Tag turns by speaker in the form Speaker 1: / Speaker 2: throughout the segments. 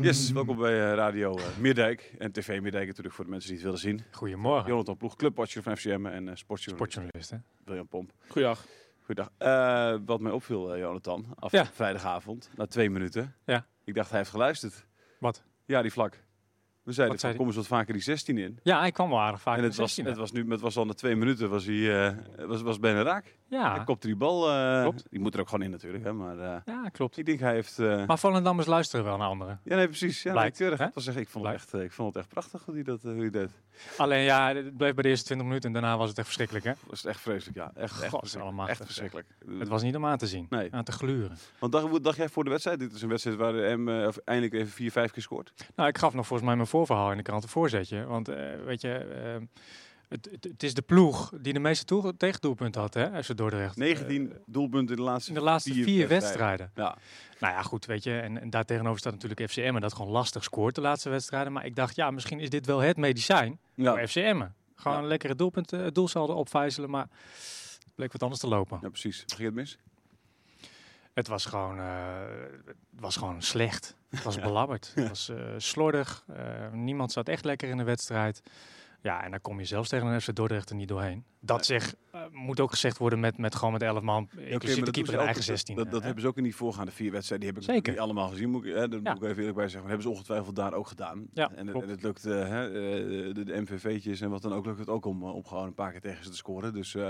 Speaker 1: Yes, welkom bij eh, Radio eh, Meerdijk en TV Meerdijk natuurlijk voor de mensen die het willen zien.
Speaker 2: Goedemorgen.
Speaker 1: Jonathan Ploeg, clubwatcher van FCM en eh sportjournalist
Speaker 2: Sportjournalist, hè?
Speaker 1: William Pomp.
Speaker 3: Goeiedag.
Speaker 1: Goedendag. Eh, wat mij opviel, eh, Jonathan, af
Speaker 2: Ja.
Speaker 1: vrijdagavond, na twee minuten.
Speaker 2: Ja.
Speaker 1: Ik dacht, hij heeft geluisterd.
Speaker 2: Wat?
Speaker 1: Ja, die vlak. We zeiden,
Speaker 2: Wat zei
Speaker 1: van,
Speaker 2: die?
Speaker 1: kom eens wat vaker die 16 in.
Speaker 2: Ja, hij kwam wel aardig vaak.
Speaker 1: en
Speaker 2: in
Speaker 1: het was,
Speaker 2: 16e.
Speaker 1: het was nu, het was al na twee minuten, was hij, eh, was, was bijna raak. Hij
Speaker 2: ja.
Speaker 1: kopte die bal. eh,
Speaker 2: Klopt.
Speaker 1: Die moet er ook gewoon in natuurlijk, hè, maar eh,
Speaker 2: ja, klopt.
Speaker 1: ik denk hij heeft... eh,
Speaker 2: Maar Volendammers luisteren wel naar anderen.
Speaker 1: ja, nee, precies. Ja,
Speaker 2: Blijkt,
Speaker 1: natuurlijk.
Speaker 2: hè?
Speaker 1: Het was echt- ik, vond het echt, eh, ik vond het echt prachtig hoe hij dat, eh, hoe hij deed.
Speaker 2: Alleen ja, het bleef bij de eerste 20 minuten en daarna was het echt verschrikkelijk, hè?
Speaker 1: Dat is echt vreselijk, ja. Echt, echt,
Speaker 2: God,
Speaker 1: verschrikkelijk.
Speaker 2: allemachtig,
Speaker 1: echt verschrikkelijk.
Speaker 2: Het was niet om aan te zien.
Speaker 1: Nee.
Speaker 2: Aan te gluren.
Speaker 1: Want dacht, wat dacht jij voor de wedstrijd? Dit is een wedstrijd waar de M eh, of eindelijk even vier, vijf keer scoort.
Speaker 2: Nou, ik gaf nog volgens mij mijn voorverhaal in de krant een voorzetje. Want eh, weet je, eh, het, het, het is de ploeg die de meeste toe- tegendoelpunten had, hè? FC Dordrecht. eh,
Speaker 1: 19 doelpunten in de laatste,
Speaker 2: In de laatste vier, wedstrijden.
Speaker 1: Ja.
Speaker 2: Nou ja, goed, weet je. En, en daartegenover staat natuurlijk FCM en dat gewoon lastig scoort de laatste wedstrijden. Maar ik dacht, ja, misschien is dit wel het medicijn.
Speaker 1: Ja.
Speaker 2: Voor FCM. Gewoon
Speaker 1: Ja.
Speaker 2: een lekkere doelpunt, eh, doelsaldo opvijzelen, maar het bleek wat anders te lopen.
Speaker 1: ja, precies. Ging het mis?
Speaker 2: Het was gewoon, eh, het was gewoon slecht. Het was belabberd. Het was eh, slordig. Eh, niemand zat echt lekker in de wedstrijd. Ja, en dan kom je zelfs tegen een FC Dordrecht er niet doorheen. Dat zeg, eh, moet ook gezegd worden met, met gewoon met 11 man,
Speaker 1: Oké, maar
Speaker 2: inclusief de
Speaker 1: dat doen ze
Speaker 2: keeper in
Speaker 1: ook-
Speaker 2: eigen
Speaker 1: dat-
Speaker 2: 16.
Speaker 1: Dat, dat
Speaker 2: hè.
Speaker 1: hebben ze ook in die voorgaande vier wedstrijden. Die heb ik
Speaker 2: Zeker.
Speaker 1: niet allemaal gezien. Moet ik, hè, daar
Speaker 2: Ja.
Speaker 1: moet ik even eerlijk bij zeggen. Maar dat hebben ze ongetwijfeld daar ook gedaan.
Speaker 2: Ja,
Speaker 1: en, het-
Speaker 2: klopt.
Speaker 1: en het lukt eh, hè, eh, de, de MVV'tjes en wat dan ook. Lukt het ook om, eh, om gewoon een paar keer tegen ze te scoren. Dus eh,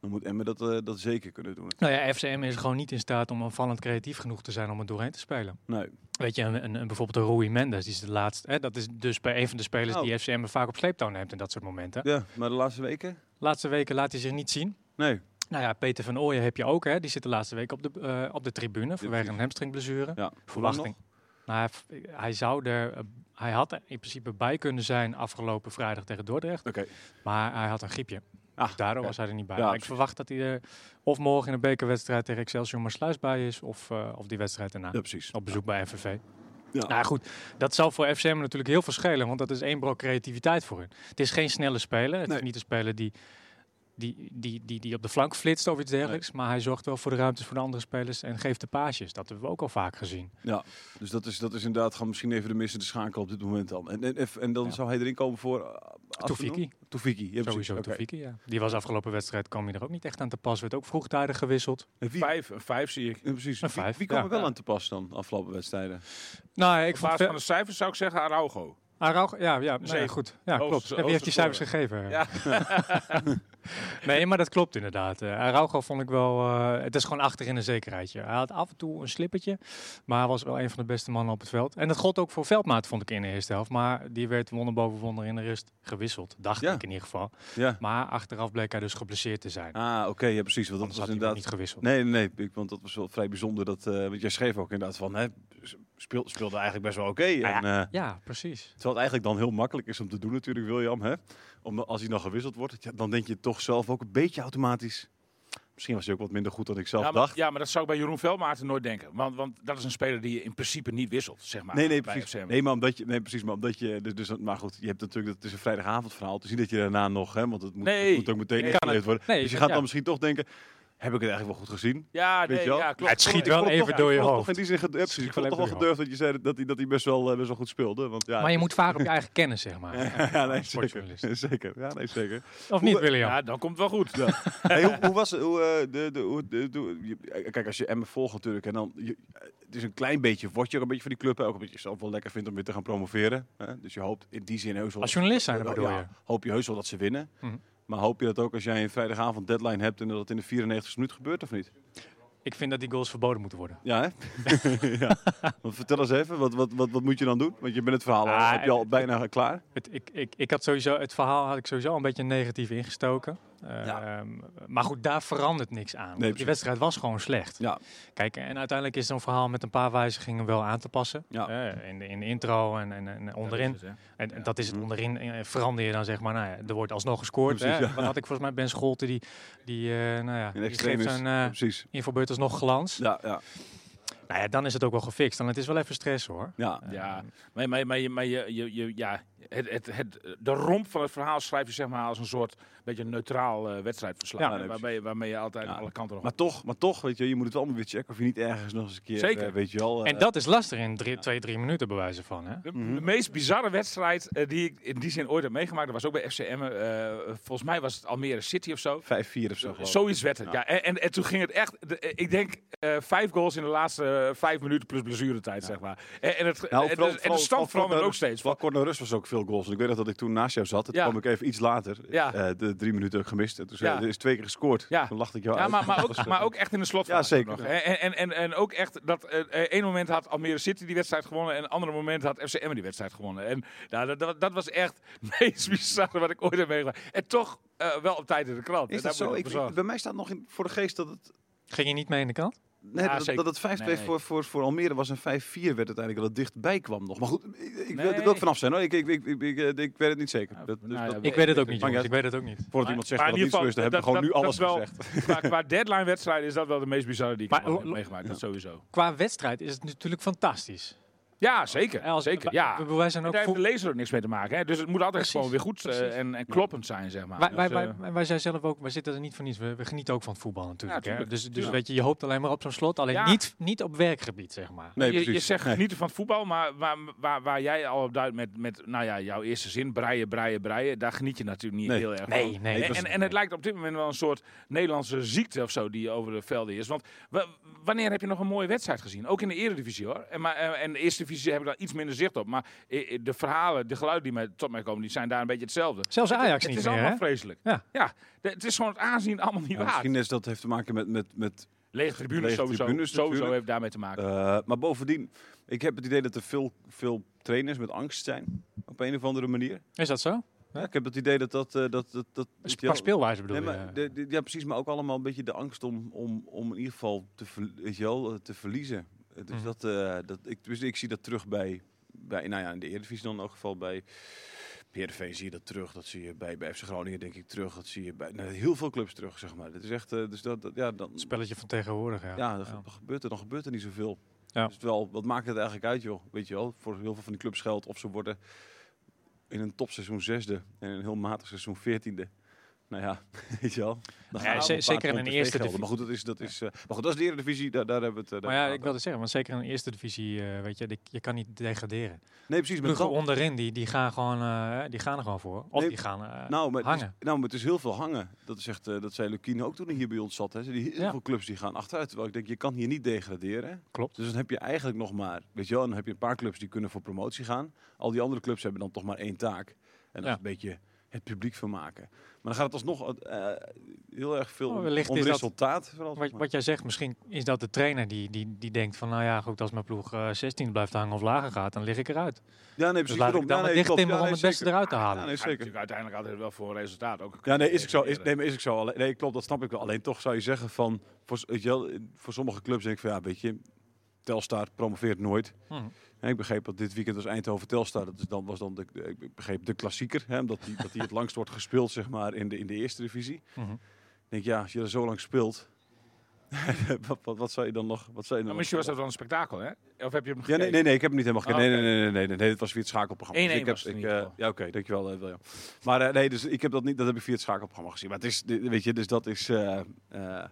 Speaker 1: dan moet Emmen dat, eh, dat zeker kunnen doen.
Speaker 2: Nou ja, FCM is gewoon niet in staat om aanvallend creatief genoeg te zijn om er doorheen te spelen.
Speaker 1: Nee.
Speaker 2: Weet je, een, een, een- bijvoorbeeld een Rui Mendes, die is de laatste. Hè, dat is dus bij een van de spelers
Speaker 1: Oh.
Speaker 2: die FCM vaak op sleeptouw neemt in dat soort momenten.
Speaker 1: Ja, maar de laatste weken?
Speaker 2: Laatste weken laat hij zich niet zien.
Speaker 1: Nee.
Speaker 2: Nou ja, Peter van Ooyen heb je ook, hè? Die zit de laatste week op de, eh, op de tribune vanwege een hamstringblessure.
Speaker 1: Ja.
Speaker 2: Verwachting. Nou, hij, heeft- hij zou er, eh, hij had er in principe bij kunnen zijn afgelopen vrijdag tegen Dordrecht,
Speaker 1: Oké.
Speaker 2: maar hij had een griepje.
Speaker 1: Ah,
Speaker 2: Dus daardoor
Speaker 1: oké.
Speaker 2: was hij er niet bij.
Speaker 1: Ja,
Speaker 2: Maar ik
Speaker 1: precies.
Speaker 2: verwacht dat hij er of morgen in de bekerwedstrijd tegen Excelsior Maasluis bij is, of, eh, of die wedstrijd daarna.
Speaker 1: Ja, precies.
Speaker 2: Op bezoek bij FNV.
Speaker 1: Ja.
Speaker 2: Nou goed, dat zal voor FCM natuurlijk heel veel schelen, want dat is één brok creativiteit voor hun. Het is geen snelle speler, het
Speaker 1: Nee.
Speaker 2: is niet een speler die, die, die, die, die op de flank flitst of iets dergelijks, maar hij zorgt wel voor de ruimtes voor de andere spelers en geeft de paasjes. Dat hebben we ook al vaak gezien.
Speaker 1: Ja, dus dat is, dat is inderdaad gaan misschien even de missende schakel op dit moment dan. En, en, en dan
Speaker 2: Ja.
Speaker 1: zou hij erin komen voor... eh, afternoon?
Speaker 2: Toefiki,
Speaker 1: Toefiki, ja, precies.
Speaker 2: sowieso
Speaker 1: Oké.
Speaker 2: Toefiki, ja. Die was afgelopen wedstrijd, kwam hij er ook niet echt aan te pas, werd ook vroegtijdig gewisseld.
Speaker 1: En wie,
Speaker 3: Vijf, een vijf zie ik.
Speaker 1: ja, precies.
Speaker 2: Een
Speaker 1: Wie-
Speaker 2: vijf,
Speaker 1: Wie, kwam
Speaker 2: ja.
Speaker 1: er wel
Speaker 3: Ja.
Speaker 1: aan te pas dan, afgelopen wedstrijden?
Speaker 2: Nou, ik
Speaker 3: Op
Speaker 2: vond
Speaker 3: basis van
Speaker 2: Ver-
Speaker 3: de cijfers zou ik zeggen Araujo.
Speaker 2: Araujo- ja, ja, nou ja,
Speaker 3: Zeven.
Speaker 2: goed. Ja,
Speaker 3: Hoogste-
Speaker 2: klopt. Wie heeft
Speaker 3: hoogste
Speaker 2: je cijfers gegeven? nee, maar dat klopt inderdaad. Eh, Araujo vond ik wel... eh, het is gewoon achterin een zekerheidje. Hij had af en toe een slippertje, maar hij was wel een van de beste mannen op het veld. En dat gold ook voor Veldmaat, vond ik in de eerste helft. Maar die werd wonder boven wonder in de rust gewisseld. Dacht
Speaker 1: Ja.
Speaker 2: ik in ieder geval.
Speaker 1: Ja.
Speaker 2: Maar achteraf bleek hij dus geblesseerd te zijn.
Speaker 1: Ah, oké, ja, precies. Want dat
Speaker 2: Anders
Speaker 1: was
Speaker 2: had hij wel
Speaker 1: inderdaad...
Speaker 2: niet gewisseld.
Speaker 1: Nee, nee, nee, ik- want dat was wel vrij bijzonder. Dat, eh, want jij schreef ook inderdaad van, hè, speel, speelde eigenlijk best wel oké.
Speaker 2: Nou ja.
Speaker 1: en, eh,
Speaker 2: Ja, precies.
Speaker 1: Terwijl het eigenlijk dan heel makkelijk is om te doen natuurlijk, William. Hè? Om, als hij dan gewisseld wordt, ja, dan denk je toch zelf ook een beetje automatisch. Misschien was hij ook wat minder goed dan ik zelf
Speaker 3: Ja maar,
Speaker 1: dacht.
Speaker 3: ja, maar dat zou ik bij Jeroen Velmaarten nooit denken. Want, want dat is een speler die je in principe niet wisselt, zeg maar.
Speaker 1: Nee, nee,
Speaker 3: bij
Speaker 1: precies.
Speaker 3: FCM.
Speaker 1: Nee, maar omdat je, nee, precies. Maar omdat je, dus, dus- maar goed, je hebt natuurlijk dat het is een vrijdagavond verhaal. Dus niet dat je daarna nog, hè, want het moet, het
Speaker 3: Nee,
Speaker 1: moet ook meteen
Speaker 3: nee,
Speaker 1: ingeleefd worden.
Speaker 2: Nee,
Speaker 1: dus je
Speaker 2: je-
Speaker 1: gaat
Speaker 2: ja.
Speaker 1: dan misschien toch denken, heb ik het eigenlijk wel goed gezien?
Speaker 3: Ja,
Speaker 1: Weet
Speaker 3: nee,
Speaker 1: je wel?
Speaker 3: ja, klopt.
Speaker 2: Het schiet
Speaker 1: Ik
Speaker 2: wel
Speaker 1: vond het
Speaker 2: even
Speaker 1: toch-
Speaker 2: door
Speaker 1: ik
Speaker 2: je
Speaker 1: vond het
Speaker 2: hoofd.
Speaker 1: toch in die zin ged- ja, precies, ik vond het
Speaker 2: wel even
Speaker 1: toch wel
Speaker 2: door je
Speaker 1: gedurfd dat je zei dat hij, dat hij best, wel, eh, best wel goed speelde. Want, ja, dus-
Speaker 2: Maar je moet varen op je eigen kennis, zeg maar.
Speaker 1: ja, nee,
Speaker 2: als
Speaker 1: zeker.
Speaker 2: sportjournalist.
Speaker 1: zeker. Ja, nee, zeker.
Speaker 2: Of niet, William?
Speaker 3: Ja, dan komt het wel goed.
Speaker 1: Hey, hoe, hoe was het? Hoe, eh, de, de, hoe, de- de- je- eh, kijk, als je Emmen volgt natuurlijk, en dan, je, het is een klein beetje, word je er een beetje van die club, hè, ook omdat je zelf wel lekker vindt om weer te gaan promoveren. Hè? Dus je hoopt in die zin heus wel...
Speaker 2: Als journalist zijn, dat bedoel
Speaker 1: ja,
Speaker 2: je?
Speaker 1: Hoop je heus wel dat ze winnen.
Speaker 2: Mhm.
Speaker 1: Maar hoop je dat ook als jij een vrijdagavond deadline hebt en dat het in de 94 minuut gebeurt of niet?
Speaker 2: Ik vind dat die goals verboden moeten worden.
Speaker 1: Ja, hè? ja. Want vertel eens even, wat, wat, wat, wat moet je dan doen? Want je bent het verhaal al,
Speaker 2: Ah,
Speaker 1: heb je al bijna klaar.
Speaker 2: Het, ik, ik, ik had sowieso, het verhaal had ik sowieso een beetje negatief ingestoken. Eh,
Speaker 1: Ja.
Speaker 2: ehm, maar goed, daar verandert niks aan. want
Speaker 1: precies.
Speaker 2: die wedstrijd was gewoon slecht.
Speaker 1: Ja.
Speaker 2: Kijk, en uiteindelijk is zo'n verhaal met een paar wijzigingen wel aan te passen.
Speaker 1: Ja.
Speaker 2: Eh, in, de, in de intro en, en, en onderin. En en dat is het onderin. eh, Verander je dan zeg maar, nou ja, er wordt alsnog gescoord.
Speaker 1: Mhm. Precies,
Speaker 2: hè.
Speaker 1: ja.
Speaker 2: Dan had ik volgens mij Ben Scholte, die, die eh nou ja,
Speaker 1: In
Speaker 2: die geeft
Speaker 1: extremis.
Speaker 2: zo'n
Speaker 1: Ja,
Speaker 2: eh
Speaker 1: precies.
Speaker 2: infobeurt alsnog glans.
Speaker 1: Ja, ja,
Speaker 2: Nou ja, dan is het ook wel gefixt. Dan het is wel even stress hoor.
Speaker 1: ja.
Speaker 3: Ja, maar, maar, maar, je- maar je, je, je, ja, het, het, het, de romp van het verhaal schrijf je zeg maar als een soort beetje neutraal eh, wedstrijdverslag.
Speaker 1: Ja,
Speaker 3: hè,
Speaker 1: nee,
Speaker 3: waarmee, waarmee je altijd
Speaker 1: Ja.
Speaker 3: aan alle kanten nog...
Speaker 1: Maar toch, maar toch, weet je, je moet het allemaal weer checken of je niet ergens nog eens een keer,
Speaker 3: Zeker.
Speaker 1: eh, weet je wel. eh,
Speaker 2: En dat is lastig in drie, twee, drie minuten bewijzen van. Hè?
Speaker 3: De,
Speaker 1: Mhm.
Speaker 3: de meest bizarre wedstrijd eh, die ik in die zin ooit heb meegemaakt, dat was ook bij FC Emmen. eh, volgens mij was het Almere City of zo.
Speaker 1: 5-4 of zo. geloof ik.
Speaker 3: Zoiets werd het, ja. En, en, en toen ging het echt, de- eh, ik denk, eh, vijf goals in de laatste eh, vijf minuten plus blessuretijd, zeg maar. En, en, het,
Speaker 1: Nou, vooral-
Speaker 3: en, de- en de
Speaker 1: vooral-
Speaker 3: stand
Speaker 1: vooral
Speaker 3: veranderde
Speaker 1: Cor-
Speaker 3: ook steeds.
Speaker 1: Vooral Cor naar Rust was ook veel goals. Ik weet nog dat ik toen naast jou zat. Toen
Speaker 3: Ja.
Speaker 1: kwam ik even iets later.
Speaker 3: Ja.
Speaker 1: eh, de drie minuten gemist. En toen zei
Speaker 3: Ja.
Speaker 1: er is twee keer gescoord.
Speaker 3: Ja.
Speaker 1: Toen lachte ik jou
Speaker 3: Ja,
Speaker 1: uit.
Speaker 3: maar, maar,
Speaker 1: Dat was,
Speaker 3: ook,
Speaker 1: eh,
Speaker 3: maar ook echt in de slot.
Speaker 1: Ja, zeker.
Speaker 3: Nog. En, en, en, en ook echt dat eh, eh, één moment had Almere City die wedstrijd gewonnen. En een ander moment had FC Emmen die wedstrijd gewonnen. En nou, dat, dat, dat was echt het meest bizarre wat ik ooit heb meegemaakt. En toch eh, wel op tijd in de krant.
Speaker 1: Is dat
Speaker 3: En daar
Speaker 1: zo?
Speaker 3: moet
Speaker 1: Ik,
Speaker 3: op bezorgd.
Speaker 1: bij mij staat nog in, voor de geest dat het,
Speaker 2: Ging je niet mee in de kant?
Speaker 1: nee,
Speaker 3: Ja,
Speaker 1: dat, het-
Speaker 3: zeker.
Speaker 1: dat het 5-2
Speaker 3: Nee.
Speaker 1: voor, voor, voor Almere was en 5-4 werd uiteindelijk. Dat het dichtbij kwam nog. Maar goed, ik, ik, wil-
Speaker 3: Nee.
Speaker 1: daar wil ik vanaf zijn hoor. Ik, ik, ik, ik, ik, eh, ik weet het niet zeker. Dat, dus
Speaker 3: nou ja,
Speaker 1: dat,
Speaker 2: Ik weet het ook niet,
Speaker 1: Maakt
Speaker 2: jongens.
Speaker 1: niet
Speaker 2: Ik weet het ook niet.
Speaker 1: voordat iemand zegt
Speaker 3: Maar
Speaker 1: dat
Speaker 3: in
Speaker 1: het
Speaker 3: ieder
Speaker 1: niet zo
Speaker 3: geval,
Speaker 1: is, dan hebben we
Speaker 3: dat-
Speaker 1: gewoon nu
Speaker 3: dat-
Speaker 1: alles
Speaker 3: dat wel-
Speaker 1: gezegd.
Speaker 3: Qua, qua deadline wedstrijd is dat wel de meest bizarre die ik
Speaker 2: Maar
Speaker 3: ooit heb
Speaker 2: lo- lo-
Speaker 3: meegemaakt. Dat sowieso.
Speaker 2: Qua wedstrijd is het natuurlijk fantastisch.
Speaker 3: Ja, zeker.
Speaker 2: Hè, als-
Speaker 3: zeker.
Speaker 2: wa-
Speaker 3: Ja.
Speaker 2: we- Wij zijn
Speaker 3: En
Speaker 2: ook
Speaker 3: Daar heeft
Speaker 2: voet-
Speaker 3: de lezer ook niks mee te maken. Hè? Dus het moet altijd
Speaker 2: Precies.
Speaker 3: gewoon weer goed eh,
Speaker 2: Precies.
Speaker 3: en, en kloppend zijn, zeg maar.
Speaker 2: Wij, wij,
Speaker 3: Dus, eh,
Speaker 2: wij, wij zijn zelf ook, wij zitten er niet voor niets. We, we genieten ook van het voetbal natuurlijk.
Speaker 3: Ja,
Speaker 2: hè.
Speaker 3: tuurlijk,
Speaker 2: Dus, dus
Speaker 3: tuurlijk.
Speaker 2: weet je, je hoopt alleen maar op zo'n slot. Alleen
Speaker 3: Ja.
Speaker 2: niet, niet op werkgebied, zeg maar.
Speaker 1: Nee,
Speaker 3: je, je
Speaker 1: precies.
Speaker 3: zegt
Speaker 1: Nee.
Speaker 3: genieten van het voetbal, maar waar, waar, waar jij al op duidt met, met nou ja, jouw eerste zin, breien, breien, breien, daar geniet je natuurlijk niet
Speaker 1: Nee.
Speaker 3: heel erg
Speaker 2: Nee,
Speaker 3: van.
Speaker 2: nee,
Speaker 3: En,
Speaker 2: dat is-
Speaker 3: en, en het lijkt op dit moment wel een soort Nederlandse ziekte of zo die over de velden is. Want wa- wanneer heb je nog een mooie wedstrijd gezien? Ook in de eredivisie hoor. En, maar, eh, en de eerste divisie heb ik daar iets minder zicht op. Maar eh, eh, de verhalen, de geluiden die mij, tot mij komen, die zijn daar een beetje hetzelfde.
Speaker 2: Zelfs Ajax
Speaker 3: het
Speaker 2: niet
Speaker 3: is
Speaker 2: meer,
Speaker 3: allemaal
Speaker 2: hè?
Speaker 3: vreselijk.
Speaker 2: Ja.
Speaker 3: de- het is gewoon het aanzien allemaal niet
Speaker 1: Ja,
Speaker 3: waard.
Speaker 1: Misschien is dat heeft te maken met, met, met
Speaker 3: Lege tribunes
Speaker 1: Lege
Speaker 3: sowieso,
Speaker 1: tribunes
Speaker 3: sowieso
Speaker 1: natuurlijk.
Speaker 3: heeft daarmee te maken.
Speaker 1: Eh, maar bovendien, ik heb het idee dat er veel, veel trainers met angst zijn. Op een of andere manier.
Speaker 2: Is dat zo?
Speaker 1: Ja, ik heb het idee dat dat. eh, dat, dat, dat
Speaker 2: Sp-
Speaker 1: ja,
Speaker 2: Qua speelwijze bedoel
Speaker 1: nee,
Speaker 2: je?
Speaker 1: maar, de, de- ja, precies. Maar ook allemaal een beetje de angst om, om, om in ieder geval te, ver- weet je wel, eh, te verliezen. Eh, Dus
Speaker 2: Mhm.
Speaker 1: dat, eh, dat, ik, tenminste, ik zie dat terug bij, bij. Nou ja, in de Eredivisie dan in elk geval bij. PRV zie je dat terug, dat zie je bij, bij FC Groningen denk ik terug, dat zie je bij nou, heel veel clubs terug, zeg maar. Dat is echt, eh, dus dat, dat- ja, dan,
Speaker 2: Het Spelletje van tegenwoordig, ja.
Speaker 1: ja, dan, ge- dan gebeurt er, dan gebeurt er niet zoveel.
Speaker 2: Ja.
Speaker 1: Dus wel, wat maakt het eigenlijk uit, joh? Weet je wel, voor heel veel van die clubs geldt of ze worden in een topseizoen zesde en in een heel matig seizoen veertiende. Nou ja, weet je wel. Dan
Speaker 2: Ja,
Speaker 1: gaan
Speaker 2: ze-
Speaker 1: een paar
Speaker 2: zeker in een
Speaker 1: pond
Speaker 2: eerste
Speaker 1: tegengelden.
Speaker 2: divi-
Speaker 1: Maar goed, dat is, dat is, eh, maar goed, dat is de Eredivisie, daar, daar hebben we het. eh,
Speaker 2: Maar
Speaker 1: daar
Speaker 2: ja,
Speaker 1: hebben
Speaker 2: ik
Speaker 1: we
Speaker 2: wilde zeggen, want zeker in de eerste divisie, eh, weet je, die- je kan niet degraderen.
Speaker 1: het. Nee, precies. Maar
Speaker 2: Ploegen
Speaker 1: dan,
Speaker 2: onderin, die, die, gaan gewoon, eh, die gaan er gewoon voor. Of
Speaker 1: Nee,
Speaker 2: die gaan eh,
Speaker 1: nou, maar het is,
Speaker 2: hangen.
Speaker 1: nou, maar het is heel veel hangen. Dat, is echt, eh, dat zei Lukine ook toen hij hier bij ons zat. Hè. Zei die heel
Speaker 2: Ja.
Speaker 1: veel clubs die gaan achteruit. Terwijl ik denk, je kan hier niet degraderen.
Speaker 2: Klopt.
Speaker 1: Dus dan heb je eigenlijk nog maar, weet je wel, dan heb je een paar clubs die kunnen voor promotie gaan. Al die andere clubs hebben dan toch maar één taak. En dat
Speaker 2: Ja.
Speaker 1: is een beetje het publiek van maken. Maar dan gaat het alsnog eh, heel erg veel
Speaker 2: Oh,
Speaker 1: om,
Speaker 2: wellicht
Speaker 1: om
Speaker 2: is dat-
Speaker 1: resultaat. vooral,
Speaker 2: Wat,
Speaker 1: zeg maar.
Speaker 2: wat jij zegt, misschien is dat de trainer die, die, die denkt van, nou ja, goed, als mijn ploeg eh 16 blijft hangen of lager gaat, dan lig ik eruit.
Speaker 1: ja, nee,
Speaker 2: Dus
Speaker 1: precies.
Speaker 2: laat
Speaker 1: daarom.
Speaker 2: ik dan
Speaker 1: ja,
Speaker 2: mijn
Speaker 1: nee,
Speaker 2: dicht
Speaker 1: klopt. Ja,
Speaker 2: timmeren
Speaker 1: nee,
Speaker 2: om het beste
Speaker 1: zeker.
Speaker 2: eruit te
Speaker 1: Ja,
Speaker 2: halen.
Speaker 1: nee,
Speaker 3: Gaat
Speaker 1: zeker.
Speaker 3: natuurlijk uiteindelijk altijd wel voor resultaat. Ook
Speaker 1: Ja, nee, is ik zo. Is, nee, maar is ik zo. Alleen, nee, klopt, dat snap ik wel. Alleen toch zou je zeggen van, voor, s- weet je wel, eh, voor sommige clubs denk ik van, ja, weet je, Telstar promoveert nooit.
Speaker 2: Hm.
Speaker 3: Hmm.
Speaker 1: En ik begreep dat dit weekend was Eindhoven Telstar. Dat is dan, was dan de, de- ik begreep de klassieker, hè, omdat die, dat die het langst wordt gespeeld, zeg maar, in de, in de eerste divisie.
Speaker 2: Mhm.
Speaker 3: Hmm.
Speaker 1: Ik denk, ja, als je er zo lang speelt, wat, wat, wat zou je dan nog, wat zou je dan nog
Speaker 3: Maar Nou, misschien was dat wel een spektakel, hè? Of heb je hem
Speaker 1: ja, nee, nee, nee, ik heb hem niet helemaal gekeken.
Speaker 3: Oh,
Speaker 1: nee, nee, nee, nee, nee, nee, nee, dat was via het schakelprogramma.
Speaker 3: 1-1
Speaker 1: ik heb,
Speaker 3: was het
Speaker 1: ik,
Speaker 3: in ieder
Speaker 1: eh,
Speaker 3: geval.
Speaker 1: ja, oké, dankjewel eh, William. Maar eh, nee, dus ik heb dat niet, dat heb ik via het schakelprogramma gezien. Maar het is, dit- weet je, dus dat is, eh, eh,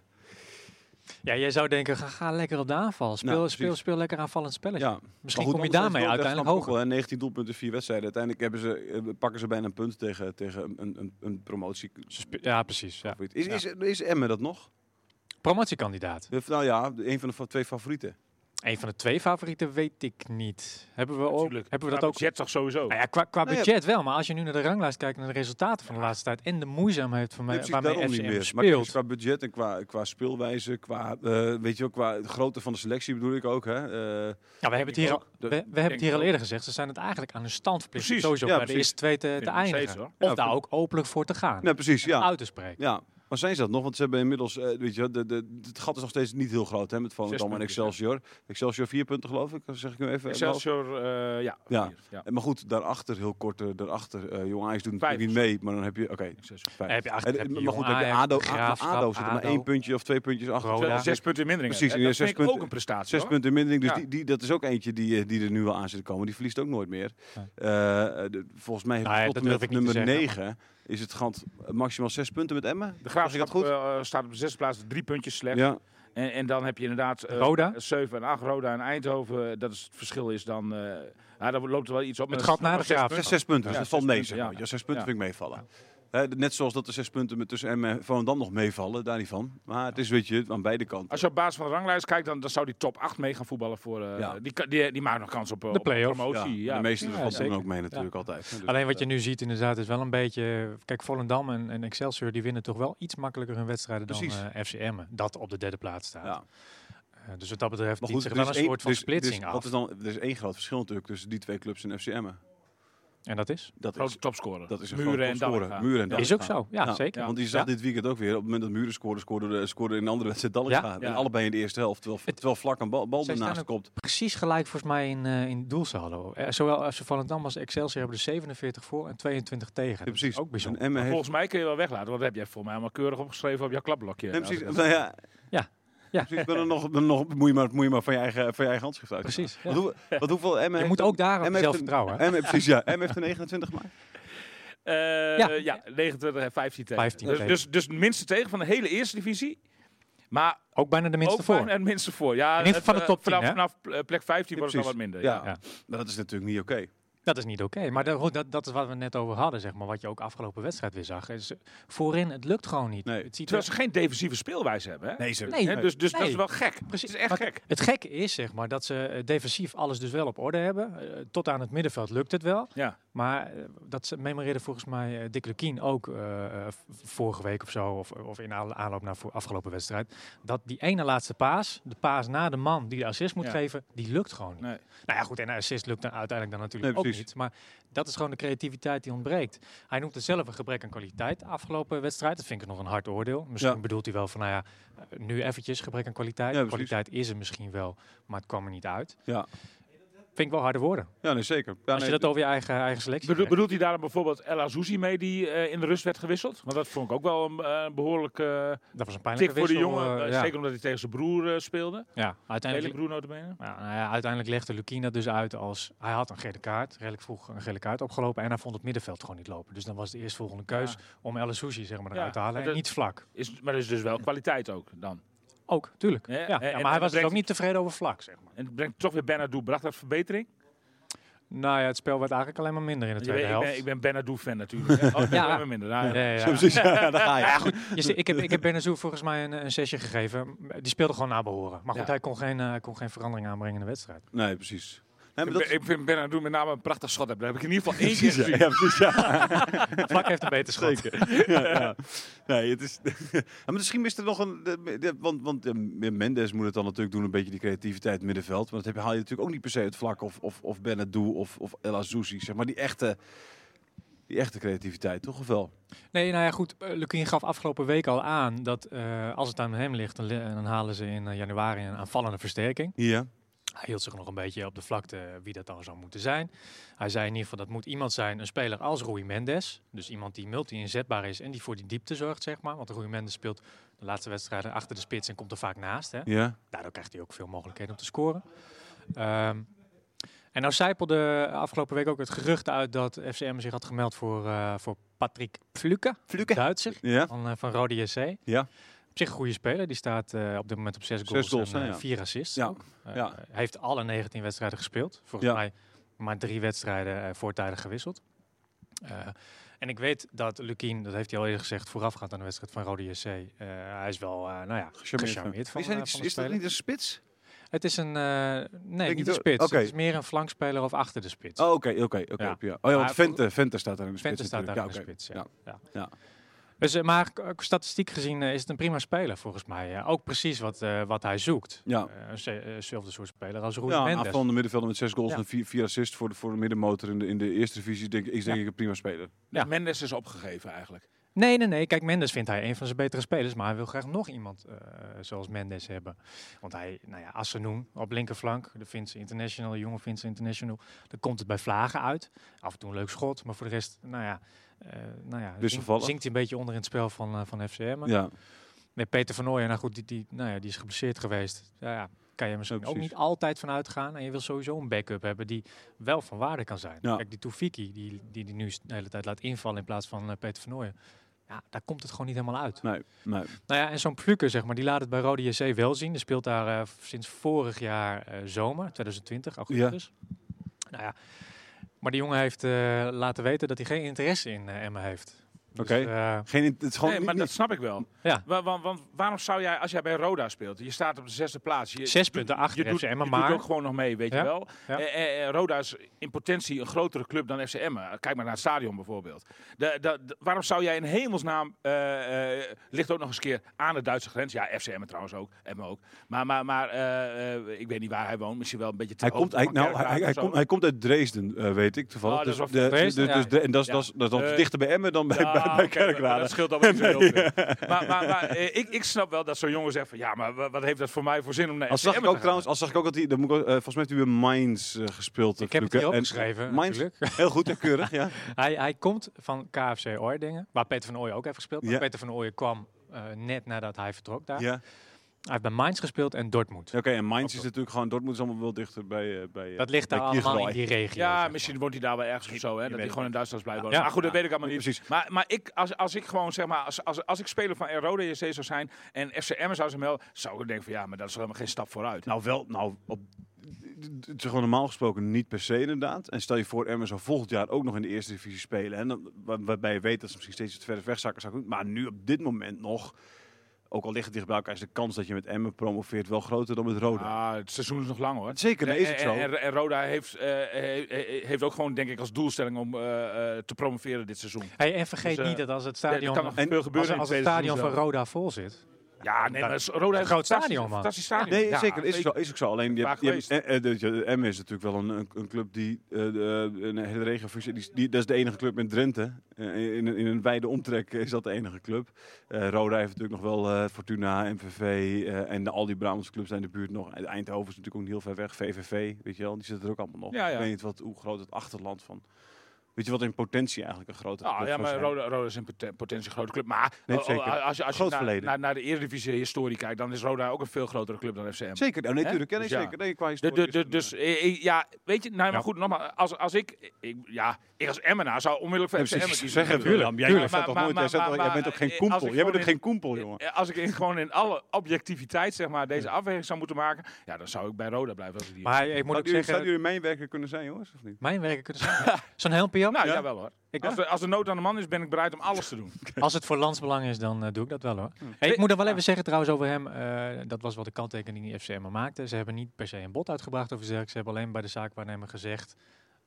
Speaker 2: Ja, jij zou denken, ga, ga lekker op de aanval. Speel,
Speaker 1: Nou, precies.
Speaker 2: speel, speel lekker aanvallend spelletje.
Speaker 1: Ja.
Speaker 2: Misschien
Speaker 1: Maar goed,
Speaker 2: kom je
Speaker 1: dan nog steeds
Speaker 2: daarmee
Speaker 1: wel, dat
Speaker 2: uiteindelijk
Speaker 1: snap ik ook
Speaker 2: hoger.
Speaker 1: wel, hè. 19 eh, doelpunten, 4 wedstrijden. Uiteindelijk hebben ze, eh, pakken ze bijna een punt tegen, tegen een, een, een promotie.
Speaker 2: Ze spe- Ja, precies. Ja.
Speaker 1: Is, is, is Emmen dat nog?
Speaker 2: Promotiekandidaat.
Speaker 1: Eh, Nou ja, een van de fa- twee favorieten.
Speaker 2: Een van de twee favorieten weet ik niet. Hebben we, ook,
Speaker 3: Natuurlijk.
Speaker 2: hebben we dat
Speaker 3: Maar
Speaker 2: ook?
Speaker 3: Budget toch sowieso.
Speaker 2: Nou ja, qua qua
Speaker 1: Nou ja.
Speaker 2: budget wel, maar als je nu naar de ranglijst kijkt en de resultaten van de laatste tijd en de moeizaamheid van mij,
Speaker 1: Nee, precies,
Speaker 2: waarmee
Speaker 1: daarom
Speaker 2: FCM
Speaker 1: Maar het is
Speaker 2: speelt.
Speaker 1: qua budget en qua, qua speelwijze, qua, eh, weet je wel, qua grootte van de selectie bedoel ik ook. Hè? Eh,
Speaker 2: Ja, we hebben het
Speaker 3: Ik
Speaker 2: hier, al,
Speaker 3: ook.
Speaker 2: we,
Speaker 1: Dat
Speaker 2: we hebben het
Speaker 3: ik
Speaker 2: hier al
Speaker 3: ook.
Speaker 2: eerder gezegd. Ze zijn het eigenlijk aan hun stand verplicht om
Speaker 3: Precies,
Speaker 2: sowieso
Speaker 1: ja,
Speaker 2: bij de
Speaker 1: precies.
Speaker 2: eerste twee te,
Speaker 3: Vind
Speaker 2: te
Speaker 3: ik nog steeds,
Speaker 2: eindigen.
Speaker 3: hoor.
Speaker 2: Of
Speaker 1: Ja,
Speaker 2: daar
Speaker 1: vind-
Speaker 2: ook openlijk voor te gaan.
Speaker 1: nou, precies, ja.
Speaker 2: Uit te spreken.
Speaker 1: Ja, maar zijn ze dat nog? Want ze hebben inmiddels, eh, weet je, wel, de, de, het gat is nog steeds niet heel groot hè, met Volendam en
Speaker 3: punten, ja.
Speaker 1: Excelsior. Excelsior vier punten geloof ik, dat zeg ik nu even.
Speaker 3: Excelsior, eh, ja.
Speaker 1: Ja.
Speaker 3: vier, ja.
Speaker 1: Eh, Maar goed, daarachter, heel kort eh, daarachter, eh Jong Ajax doet
Speaker 3: Vijf
Speaker 1: natuurlijk niet mee, maar dan heb je, oké,
Speaker 3: Excelsior.
Speaker 1: vijf.
Speaker 2: En heb je achter,
Speaker 1: En,
Speaker 2: Eh, heb je
Speaker 1: maar
Speaker 2: Jong
Speaker 1: goed, heb je
Speaker 2: Ajax,
Speaker 1: ADO,
Speaker 2: Graafschap,
Speaker 1: ADO zit er maar
Speaker 2: ADO.
Speaker 1: één puntje of twee puntjes achter.
Speaker 2: Roda.
Speaker 1: Zes,
Speaker 3: Zes punten in mindering.
Speaker 1: Precies,
Speaker 3: hè.
Speaker 1: ja,
Speaker 3: Dat
Speaker 1: zes
Speaker 3: vind ik ook
Speaker 1: punten.
Speaker 3: een prestatie.
Speaker 1: zes
Speaker 3: hoor.
Speaker 1: punten in mindering, dus
Speaker 3: Ja.
Speaker 1: die, die, dat is ook eentje die, eh, die er nu wel aan zit te komen. Die verliest ook nooit meer. Eh, eh, de- volgens mij heeft
Speaker 2: Nou ja,
Speaker 1: tot
Speaker 2: dat
Speaker 1: en
Speaker 2: durf
Speaker 1: met
Speaker 2: ik niet te
Speaker 1: nummer
Speaker 2: zeggen,
Speaker 1: 9 is het gat maximaal zes punten met Emmen.
Speaker 3: De
Speaker 1: Zeg ik dat
Speaker 3: Graafschap
Speaker 1: goed?
Speaker 3: eh, staat op de zesde plaats, drie puntjes slecht.
Speaker 1: ja.
Speaker 3: En, en dan heb je inderdaad eh,
Speaker 2: Roda?
Speaker 3: 7 en 8, Roda en Eindhoven. eh, Dat is het verschil is dan... eh ja, daar loopt er wel iets op. maar
Speaker 2: Het
Speaker 3: dat
Speaker 2: gat
Speaker 3: is
Speaker 2: naar de
Speaker 3: nog maar zes
Speaker 2: graaf.
Speaker 1: Zes, zes punten, dus
Speaker 3: Ja,
Speaker 1: dat
Speaker 3: zes
Speaker 1: valt mee.
Speaker 3: punten,
Speaker 1: Zeg maar.
Speaker 3: ja.
Speaker 1: ja, zes punten
Speaker 3: Ja.
Speaker 1: vind ik meevallen. Hè, de- net zoals dat de zes punten met tussen Emmen en Volendam nog meevallen, daar niet van. Maar het is, weet je, aan beide kanten.
Speaker 3: Als je op basis van de ranglijst kijkt, dan, dan zou die top 8 mee gaan voetballen voor. eh,
Speaker 1: Ja.
Speaker 3: die, ka- die, die maken nog kans op eh,
Speaker 2: De
Speaker 3: op
Speaker 2: play-off.
Speaker 1: Ja,
Speaker 3: promotie. Ja,
Speaker 1: de meeste
Speaker 2: ja,
Speaker 1: van doen
Speaker 2: zeker.
Speaker 1: ook mee natuurlijk altijd. hè. Dus
Speaker 2: Alleen wat
Speaker 1: dat,
Speaker 2: je nu ziet inderdaad is wel een beetje... Kijk, Volendam en, en Excelsior die winnen toch wel iets makkelijker hun wedstrijden dan
Speaker 1: Precies.
Speaker 2: eh FCM. Dat op de derde plaats staat.
Speaker 1: eh, ja.
Speaker 2: Eh, dus wat dat betreft
Speaker 1: Maar
Speaker 2: dient
Speaker 1: goed,
Speaker 2: zich
Speaker 1: er
Speaker 2: wel
Speaker 1: is
Speaker 2: een
Speaker 1: één-
Speaker 2: soort van
Speaker 1: dus- dus
Speaker 2: splitsing af.
Speaker 1: wat is dan, er is één groot verschil natuurlijk tussen die twee clubs en FCM'en.
Speaker 2: En dat is?
Speaker 1: Dat
Speaker 3: grote
Speaker 1: is,
Speaker 3: topscorer.
Speaker 1: dat is een
Speaker 3: muren en
Speaker 1: groot topscorer.
Speaker 3: Dallinga.
Speaker 1: Muren en
Speaker 2: is ook
Speaker 1: Dallinga.
Speaker 2: zo. Ja,
Speaker 1: Ja,
Speaker 2: zeker.
Speaker 1: Want je zag
Speaker 2: Ja.
Speaker 1: dit weekend ook weer, op het moment dat Muren scoorde, scoorde, scoorde in een andere wedstrijd Dallinga.
Speaker 2: Ja,
Speaker 3: ja.
Speaker 1: En allebei in de eerste helft, terwijl,
Speaker 2: Het-
Speaker 1: terwijl vlak een bal, bal
Speaker 2: Zij staan
Speaker 1: ernaast
Speaker 2: ook-
Speaker 1: komt.
Speaker 2: Precies gelijk volgens mij in, eh in doelsaldo. Eh, zowel FC Volendam als Excelsior hebben er 47 voor en 22 tegen.
Speaker 1: Ja,
Speaker 2: Dat is
Speaker 1: precies.
Speaker 2: Ook bijzonder.
Speaker 1: En Emmen heeft...
Speaker 3: Volgens mij kun je wel weglaten, want dat heb jij voor mij allemaal keurig opgeschreven op jouw klapblokje.
Speaker 1: Nee, precies,
Speaker 3: Nou,
Speaker 1: nou ja,
Speaker 2: Ja,
Speaker 1: precies, maar dan nog, dan nog moet, je maar, moet je maar van je eigen, van je eigen handschrift uit.
Speaker 2: precies. ja.
Speaker 1: Wat, hoe, wat hoeveel Emmen
Speaker 2: Je
Speaker 1: heeft
Speaker 2: moet
Speaker 1: een-
Speaker 2: ook daar op
Speaker 1: Emmen
Speaker 2: jezelf
Speaker 1: heeft een-
Speaker 2: vertrouwen. hè?
Speaker 1: Emmen, precies, ja. Emmen heeft een 29 gemaakt.
Speaker 3: eh,
Speaker 2: Ja.
Speaker 3: ja, 29 en 15 tegen.
Speaker 2: 15
Speaker 3: dus,
Speaker 2: tegen.
Speaker 3: dus, dus het minste tegen van de hele eerste divisie. Maar
Speaker 2: Ook bijna de minste
Speaker 3: ook
Speaker 2: voor.
Speaker 3: bijna het minste voor. Ja,
Speaker 2: In ieder geval
Speaker 3: het,
Speaker 2: van de
Speaker 3: eh,
Speaker 2: top 10,
Speaker 3: Vanaf, vanaf eh, plek 15 wordt het
Speaker 1: Precies.
Speaker 3: wel wat minder.
Speaker 1: Ja.
Speaker 2: Ja.
Speaker 1: Maar dat is natuurlijk niet oké.
Speaker 2: Dat is niet oké. Maar dat, goed, dat, dat is wat we net over hadden, zeg maar. Wat je ook afgelopen wedstrijd weer zag. Is, eh, voorin, het lukt gewoon niet.
Speaker 1: Nee.
Speaker 2: Het, ziet er-
Speaker 3: Terwijl ze geen defensieve speelwijze hebben. Hè?
Speaker 1: Nee, ze-
Speaker 2: Nee.
Speaker 3: Hè, Dus, dus dat
Speaker 2: Nee.
Speaker 3: is wel gek. Het is echt
Speaker 2: Maar
Speaker 3: gek.
Speaker 2: het gekke is, zeg maar, dat ze eh, defensief alles dus wel op orde hebben. Eh, tot aan het middenveld lukt het wel.
Speaker 3: Ja.
Speaker 2: Maar eh, dat ze- memoreerde volgens mij eh, Dick Lukien ook eh, eh, v- vorige week of zo, of, of in aan- aanloop naar voor afgelopen wedstrijd, dat die ene laatste paas, de paas na de man die de assist moet
Speaker 3: Ja.
Speaker 2: geven, die lukt gewoon niet.
Speaker 3: Nee.
Speaker 2: Nou ja, goed, en een assist lukt dan uiteindelijk dan natuurlijk
Speaker 1: Nee,
Speaker 2: ook
Speaker 1: precies.
Speaker 2: niet. Maar dat is gewoon de creativiteit die ontbreekt. Hij noemt het zelf een gebrek aan kwaliteit afgelopen wedstrijd. Dat vind ik nog een hard oordeel. Misschien
Speaker 1: Ja.
Speaker 2: bedoelt hij wel van, nou ja, eh, nu eventjes gebrek aan kwaliteit.
Speaker 1: Ja, precies.
Speaker 2: kwaliteit is er misschien wel, maar het kwam er niet uit.
Speaker 1: Ja,
Speaker 2: Vind ik wel harde woorden.
Speaker 1: ja nee, zeker. Ja,
Speaker 2: Als je
Speaker 1: nee,
Speaker 2: dat over je eigen, eigen selectie
Speaker 3: Bedoel-
Speaker 2: legt.
Speaker 3: bedoelt hij daar dan bijvoorbeeld El Azouzi mee die eh, in de rust werd gewisseld? Want dat vond ik ook wel een eh, behoorlijke eh,
Speaker 2: Dat was een
Speaker 3: tik
Speaker 2: pijnlijke
Speaker 3: voor de
Speaker 2: wissel,
Speaker 3: jongen.
Speaker 2: eh,
Speaker 3: eh,
Speaker 2: ja.
Speaker 3: Zeker omdat hij tegen zijn broer eh, speelde.
Speaker 2: Ja,
Speaker 3: Hele
Speaker 2: uiteindelijk,
Speaker 3: broer notabene.
Speaker 2: ja, nou ja, uiteindelijk legde Lukien dat dus uit als... Hij had een gele kaart, redelijk vroeg een gele kaart opgelopen... en hij vond het middenveld gewoon niet lopen. Dus dan was de eerstvolgende keus
Speaker 3: Ja.
Speaker 2: om El Souci zeg maar,
Speaker 3: Ja,
Speaker 2: eruit te halen.
Speaker 3: maar
Speaker 2: En
Speaker 3: dat-
Speaker 2: niet vlak.
Speaker 3: Is, maar dat is dus wel kwaliteit ook dan.
Speaker 2: Ook, tuurlijk.
Speaker 3: Ja,
Speaker 2: Ja,
Speaker 3: en-
Speaker 2: ja,
Speaker 3: en- en
Speaker 2: maar hij
Speaker 3: dat
Speaker 2: was dus er
Speaker 3: brengt-
Speaker 2: ook niet tevreden over vlak, zeg maar.
Speaker 3: En het brengt toch weer Benadou. Bracht dat verbetering?
Speaker 2: Nou ja, het spel werd eigenlijk alleen maar minder in de
Speaker 3: Je
Speaker 2: tweede
Speaker 3: weet, ik
Speaker 2: helft.
Speaker 3: ben, ik ben Benadou-fan natuurlijk. hè. Oh,
Speaker 2: Ja.
Speaker 3: ja. minder. Nou, ja.
Speaker 2: Nee, ja.
Speaker 1: Ja, precies, ja, daar ga je.
Speaker 2: Nou ja, goed. Je ziet, ik heb, ik heb Benazou volgens mij een, een zesje gegeven. Die speelde gewoon naar behoren. Maar goed,
Speaker 3: Ja.
Speaker 2: hij kon geen, eh, kon geen verandering aanbrengen in de wedstrijd.
Speaker 1: Nee, precies. Nee, maar
Speaker 3: Ik
Speaker 1: dat
Speaker 3: ben- Ik vind Benadou met name een prachtig schot. hebben. Dat heb ik in ieder geval één keer
Speaker 1: Precies, ja,
Speaker 3: gezien.
Speaker 1: ja, precies, ja.
Speaker 2: Vlak heeft een beter schot.
Speaker 1: Zeker. ja, ja. Nee, het is. maar misschien mist er nog een. de- de- Want, want eh, Mendes moet het dan natuurlijk doen, een beetje die creativiteit in het middenveld. Want dat heb, haal je natuurlijk ook niet per se het vlak of, of, of Benadou of, of El Azouzi, zeg maar. Die echte, die echte creativiteit, toch? Of wel?
Speaker 2: Nee, nou ja, goed. eh, Lukien gaf afgelopen week al aan dat eh, als het aan hem ligt, dan, li- dan halen ze in eh, januari een aanvallende versterking.
Speaker 1: Ja.
Speaker 2: Hij hield zich nog een beetje op de vlakte eh, wie dat dan zou moeten zijn. Hij zei in ieder geval dat moet iemand zijn, een speler als Rui Mendes. Dus iemand die multi-inzetbaar is en die voor die diepte zorgt, zeg maar. Want Rui Mendes speelt de laatste wedstrijden achter de spits en komt er vaak naast, hè.
Speaker 1: Ja.
Speaker 2: Daardoor krijgt hij ook veel mogelijkheden om te scoren. Ehm, en nou zijpelde afgelopen week ook het gerucht uit dat FCM zich had gemeld voor, eh, voor Patrick Fluke,
Speaker 1: Fluke.
Speaker 2: Duitser
Speaker 1: Ja.
Speaker 2: van, eh, van Rode JC.
Speaker 1: Ja.
Speaker 2: Op zich een goede speler. Die staat eh, op dit moment op zes
Speaker 1: Zes
Speaker 2: goals,
Speaker 1: goals,
Speaker 2: en
Speaker 1: hè,
Speaker 2: eh,
Speaker 1: ja.
Speaker 2: vier assists.
Speaker 1: Ja,
Speaker 2: ook. Eh,
Speaker 1: ja.
Speaker 2: Hij heeft alle 19 wedstrijden gespeeld. Volgens
Speaker 1: Ja.
Speaker 2: mij maar drie wedstrijden eh, voortijdig gewisseld. Eh, en ik weet dat Lukien, dat heeft hij al eerder gezegd, voorafgaand aan de wedstrijd van Rode JC. eh, hij is wel, eh, nou ja,
Speaker 1: Gecharmeerd van.
Speaker 2: gecharmeerd van,
Speaker 1: Is, hij
Speaker 2: eh,
Speaker 1: niet-
Speaker 2: van de
Speaker 1: is dat
Speaker 2: speler.
Speaker 1: niet een spits?
Speaker 2: Het is een, eh, nee,
Speaker 1: Denk je
Speaker 2: niet een
Speaker 1: dat-
Speaker 2: spits.
Speaker 1: oké.
Speaker 2: Het is meer een flankspeler of achter de spits.
Speaker 1: Oh, oké, oké, oké.
Speaker 2: Ja.
Speaker 1: op- ja. Oh ja, want
Speaker 2: Maar-
Speaker 1: Vente, Vente staat daar in de spits.
Speaker 2: Vente staat daar in de
Speaker 1: natuurlijk.
Speaker 2: spits, ja.
Speaker 1: Ja, oké. Ja.
Speaker 2: Dus, eh, maar k- statistiek gezien eh, is het een prima speler volgens mij. eh. ook precies wat, eh, wat hij zoekt.
Speaker 1: Ja.
Speaker 2: Eh, een ze- eh, Hetzelfde soort speler als Roel
Speaker 1: Ja,
Speaker 2: Mendes.
Speaker 1: aanvallende middenvelder met zes goals
Speaker 2: Ja.
Speaker 1: en vier, vier assists voor de, voor de middenmotor in de, in de eerste divisie. Denk, ik is denk ik een prima speler.
Speaker 3: Dus Mendes is opgegeven eigenlijk.
Speaker 2: Nee, nee, nee. Kijk, Mendes vindt hij een van zijn betere spelers. Maar hij wil graag nog iemand eh, zoals Mendes hebben. Want hij, nou ja, Assenoen op linkerflank. De Finse International, de jonge Finse International. Dan komt het bij vlagen uit. Af en toe een leuk schot. Maar voor de rest, nou ja... eh nou ja zinkt,
Speaker 1: Wisselvallig.
Speaker 2: zinkt hij een beetje onder in het spel van, eh, van FCM.
Speaker 1: Ja,
Speaker 2: Nee, Peter van Nooyen, nou goed, die, die, nou ja, die is geblesseerd geweest. Ja, ja, kan je misschien
Speaker 1: Ja,
Speaker 2: ook
Speaker 1: precies.
Speaker 2: niet altijd van uitgaan. En je wil sowieso een backup hebben die wel van waarde kan zijn.
Speaker 1: Ja.
Speaker 2: Kijk, die Toefiki, die, die die nu s- de hele tijd laat invallen in plaats van eh, Peter van Nooyen. Ja, daar komt het gewoon niet helemaal uit.
Speaker 1: nee, nee.
Speaker 2: Nou ja, en zo'n Pluker, zeg maar, die laat het bij Rode JC wel zien. Die speelt daar eh, v- sinds vorig jaar eh, zomer, 2020, augustus. Nou ja, maar die jongen heeft eh, laten weten dat hij geen interesse in eh Emmen heeft. Dus,
Speaker 1: Oké.
Speaker 2: eh,
Speaker 1: Geen, het is gewoon
Speaker 3: nee,
Speaker 1: niet-
Speaker 3: maar dat
Speaker 1: niet-
Speaker 3: snap ik wel.
Speaker 2: Ja.
Speaker 3: Wa- wa- want waarom zou jij, als jij bij Roda speelt, je staat op de zesde plaats. Je,
Speaker 2: Zes punten achter
Speaker 3: je doet,
Speaker 2: FC Emmen,
Speaker 3: je
Speaker 2: maar-
Speaker 3: doet ook gewoon nog mee, weet
Speaker 2: Ja,
Speaker 3: je wel.
Speaker 2: ja.
Speaker 3: Eh, eh, Roda is in potentie een grotere club dan FC Emmen. Kijk maar naar het stadion bijvoorbeeld. De, de- de- waarom zou jij in hemelsnaam, eh, eh, ligt ook nog eens een keer aan de Duitse grens. Ja, FC Emmen trouwens ook, Emmen ook. Maar, maar, maar eh, eh, ik weet niet waar hij woont, misschien wel een beetje te
Speaker 1: hij
Speaker 3: hoog
Speaker 1: komt, hij,
Speaker 3: van
Speaker 1: nou,
Speaker 3: Kerkraad
Speaker 1: hij, hij,
Speaker 3: of zo.
Speaker 1: komt, hij komt uit Dresden, eh, weet ik toevallig.
Speaker 3: Oh, dat is
Speaker 1: dus
Speaker 3: wel
Speaker 1: de,
Speaker 2: Dresden,
Speaker 1: de- dus
Speaker 2: ja.
Speaker 1: de- en dat is-
Speaker 3: Ja.
Speaker 1: dat is- dat is dan
Speaker 3: Eh,
Speaker 1: dichter bij Emmen dan bij,
Speaker 3: Ja,
Speaker 1: bij, bij
Speaker 3: oké, maar
Speaker 1: Kerkrade.
Speaker 3: Dat scheelt dan wel niet zo heel veel. Maar, maar, maar eh, ik, ik snap wel dat zo'n jongen zegt van... Ja, maar wa- wat heeft dat voor mij voor zin om naar
Speaker 1: Als
Speaker 3: FC
Speaker 1: zag ik
Speaker 3: Emmen
Speaker 1: ook
Speaker 3: te gaan?
Speaker 1: trouwens, als zag ik ook dat hij, dat moet ik ook, eh, volgens mij heeft hij bij Mainz eh, gespeeld. eh,
Speaker 2: Ik heb het
Speaker 1: Fluke.
Speaker 2: hier
Speaker 1: En-
Speaker 2: opgeschreven,
Speaker 1: Mainz,
Speaker 2: natuurlijk.
Speaker 1: heel goed en keurig, ja.
Speaker 2: Hij, hij komt van KFC Oordingen, waar Peter van Ooyen ook heeft gespeeld. Maar
Speaker 1: Ja.
Speaker 2: Peter van Ooyen kwam eh, net nadat hij vertrok daar.
Speaker 1: ja.
Speaker 2: Hij heeft bij Mainz gespeeld en Dortmund.
Speaker 1: Oké, en Mainz is natuurlijk gewoon, Dortmund is allemaal wel dichter bij... eh bij eh,
Speaker 2: Dat ligt
Speaker 1: bij
Speaker 2: daar allemaal
Speaker 1: Kirchhoff.
Speaker 2: in die regio. zeg
Speaker 3: Ja,
Speaker 2: maar.
Speaker 3: misschien wordt hij daar wel ergens of zo. Hè, dat hij
Speaker 2: weet
Speaker 3: gewoon in Duitsland blijft wonen.
Speaker 2: Ja.
Speaker 3: maar goed, dat weet ik allemaal niet.
Speaker 1: Precies.
Speaker 3: Maar, maar ik, als, als ik gewoon zeg maar... Als, als, als ik speler van Rode JC zou zijn en FC Emmen zou zijn melden... Zou ik denken van ja, maar dat is helemaal geen stap vooruit.
Speaker 1: Nou, wel, nou, op, het is gewoon normaal gesproken niet per se inderdaad. En stel je voor, Emmen zou volgend jaar ook nog in de eerste divisie spelen. En dan, waar- waarbij je weet dat ze misschien steeds het verder wegzakken. zou kunnen. Maar nu op dit moment nog, ook al ligt het dicht bij elkaar, is de kans dat je met Emmen promoveert wel groter dan met Roda.
Speaker 3: Ah, het seizoen is nog lang hoor.
Speaker 1: Zeker, dat is
Speaker 3: En-
Speaker 1: ook zo.
Speaker 3: En, en, en Roda heeft, eh, he- he- heeft ook gewoon, denk ik, als doelstelling om eh, eh, te promoveren dit seizoen.
Speaker 2: Hey, en vergeet
Speaker 3: Dus, eh,
Speaker 2: niet dat als het
Speaker 3: Ja, er
Speaker 2: stadion,
Speaker 3: kan nog
Speaker 2: als,
Speaker 1: en-
Speaker 3: veel gebeuren in dus,
Speaker 2: als het
Speaker 3: tweede
Speaker 2: stadion
Speaker 3: seizoen
Speaker 2: van
Speaker 3: zelf.
Speaker 2: Roda vol zit.
Speaker 3: Ja, nee, maar Roda heeft
Speaker 2: groot
Speaker 3: een fantastisch-
Speaker 2: stadion, man.
Speaker 3: fantastisch stadion.
Speaker 1: Nee,
Speaker 3: Ja,
Speaker 1: zeker. Is,
Speaker 3: weet
Speaker 1: ook zo, is ook zo. Alleen, je hebt, je
Speaker 3: Vaak
Speaker 1: hebt, eh, eh, dat je- Emmen is natuurlijk wel een, een, een club die eh, de- een hele regio functie- die, die- Dat is de enige club met Drenthe. Eh, in, in een wijde omtrek is dat de enige club. Eh, Roda heeft natuurlijk nog wel eh, Fortuna, MVV eh, en de, al die Brabantse clubs zijn in de buurt nog. En Eindhoven is natuurlijk ook niet heel ver weg. VVV, weet je wel, die zitten er ook allemaal nog.
Speaker 3: Ja, ja.
Speaker 1: Ik weet niet wat, hoe groot het achterland van... Weet je wat in potentie eigenlijk een grote
Speaker 3: Nou,
Speaker 1: club
Speaker 3: ja,
Speaker 1: zou
Speaker 3: maar
Speaker 1: zijn?
Speaker 3: Roda, Roda is een poten- potentie grote club. Maar
Speaker 1: Nee,
Speaker 3: o- o-
Speaker 1: zeker.
Speaker 3: als je, als je
Speaker 1: Groot
Speaker 3: naar,
Speaker 1: verleden.
Speaker 3: naar, naar de Eredivisie-historie kijkt, dan is Roda ook een veel grotere club dan FCM.
Speaker 1: Zeker, oh, nee,
Speaker 3: Hè?
Speaker 1: natuurlijk. Ja, nee,
Speaker 3: Dus ja.
Speaker 1: zeker. Nee, qua
Speaker 3: De,
Speaker 1: historie
Speaker 3: de,
Speaker 1: is
Speaker 3: de-
Speaker 1: het,
Speaker 3: dus eh, eh, ja, weet je, nou ja, maar
Speaker 2: Ja.
Speaker 3: goed, nogmaals, als, als ik, ik, ja, ik als Emmenaar zou onmiddellijk
Speaker 1: Ja,
Speaker 3: voor
Speaker 1: precies.
Speaker 3: FCM kiezen.
Speaker 1: Zeggen,
Speaker 2: Tuurlijk,
Speaker 1: Willem, jij
Speaker 2: tuurlijk.
Speaker 1: zat toch
Speaker 3: Maar-
Speaker 1: nooit-
Speaker 3: maar-
Speaker 1: jij zat
Speaker 3: maar-
Speaker 1: toch- jij bent
Speaker 3: maar-
Speaker 1: ook geen
Speaker 3: eh, als
Speaker 1: koempel.
Speaker 3: ik
Speaker 1: Jij bent ook
Speaker 3: gewoon
Speaker 1: geen koempel, jongen.
Speaker 3: Eh, Als ik in, gewoon in alle objectiviteit zeg maar, deze afweging zou moeten maken, ja, dan zou ik bij Roda blijven. Als ik die...
Speaker 2: Maar ik moet ook
Speaker 1: Zouden jullie,
Speaker 2: zeggen,
Speaker 1: zouden jullie mijnwerker kunnen zijn, jongens, of niet?
Speaker 2: mijn werken kunnen zijn. Zo'n helmpje op.
Speaker 3: nou,
Speaker 1: Ja?
Speaker 3: ja? jawel hoor.
Speaker 2: Ik-
Speaker 3: Als, de, als de nood aan de man is, ben ik bereid om alles te doen.
Speaker 2: Als het voor landsbelang is, dan eh, doe ik dat wel
Speaker 1: Hmm.
Speaker 2: hoor. Hey, ik moet dan wel
Speaker 3: ah.
Speaker 2: even zeggen trouwens over hem. eh, dat was wel de kanttekening die FCM maakte. Ze hebben niet per se een bod uitgebracht over Zerk. Ze hebben alleen bij de zaakwaarnemer gezegd.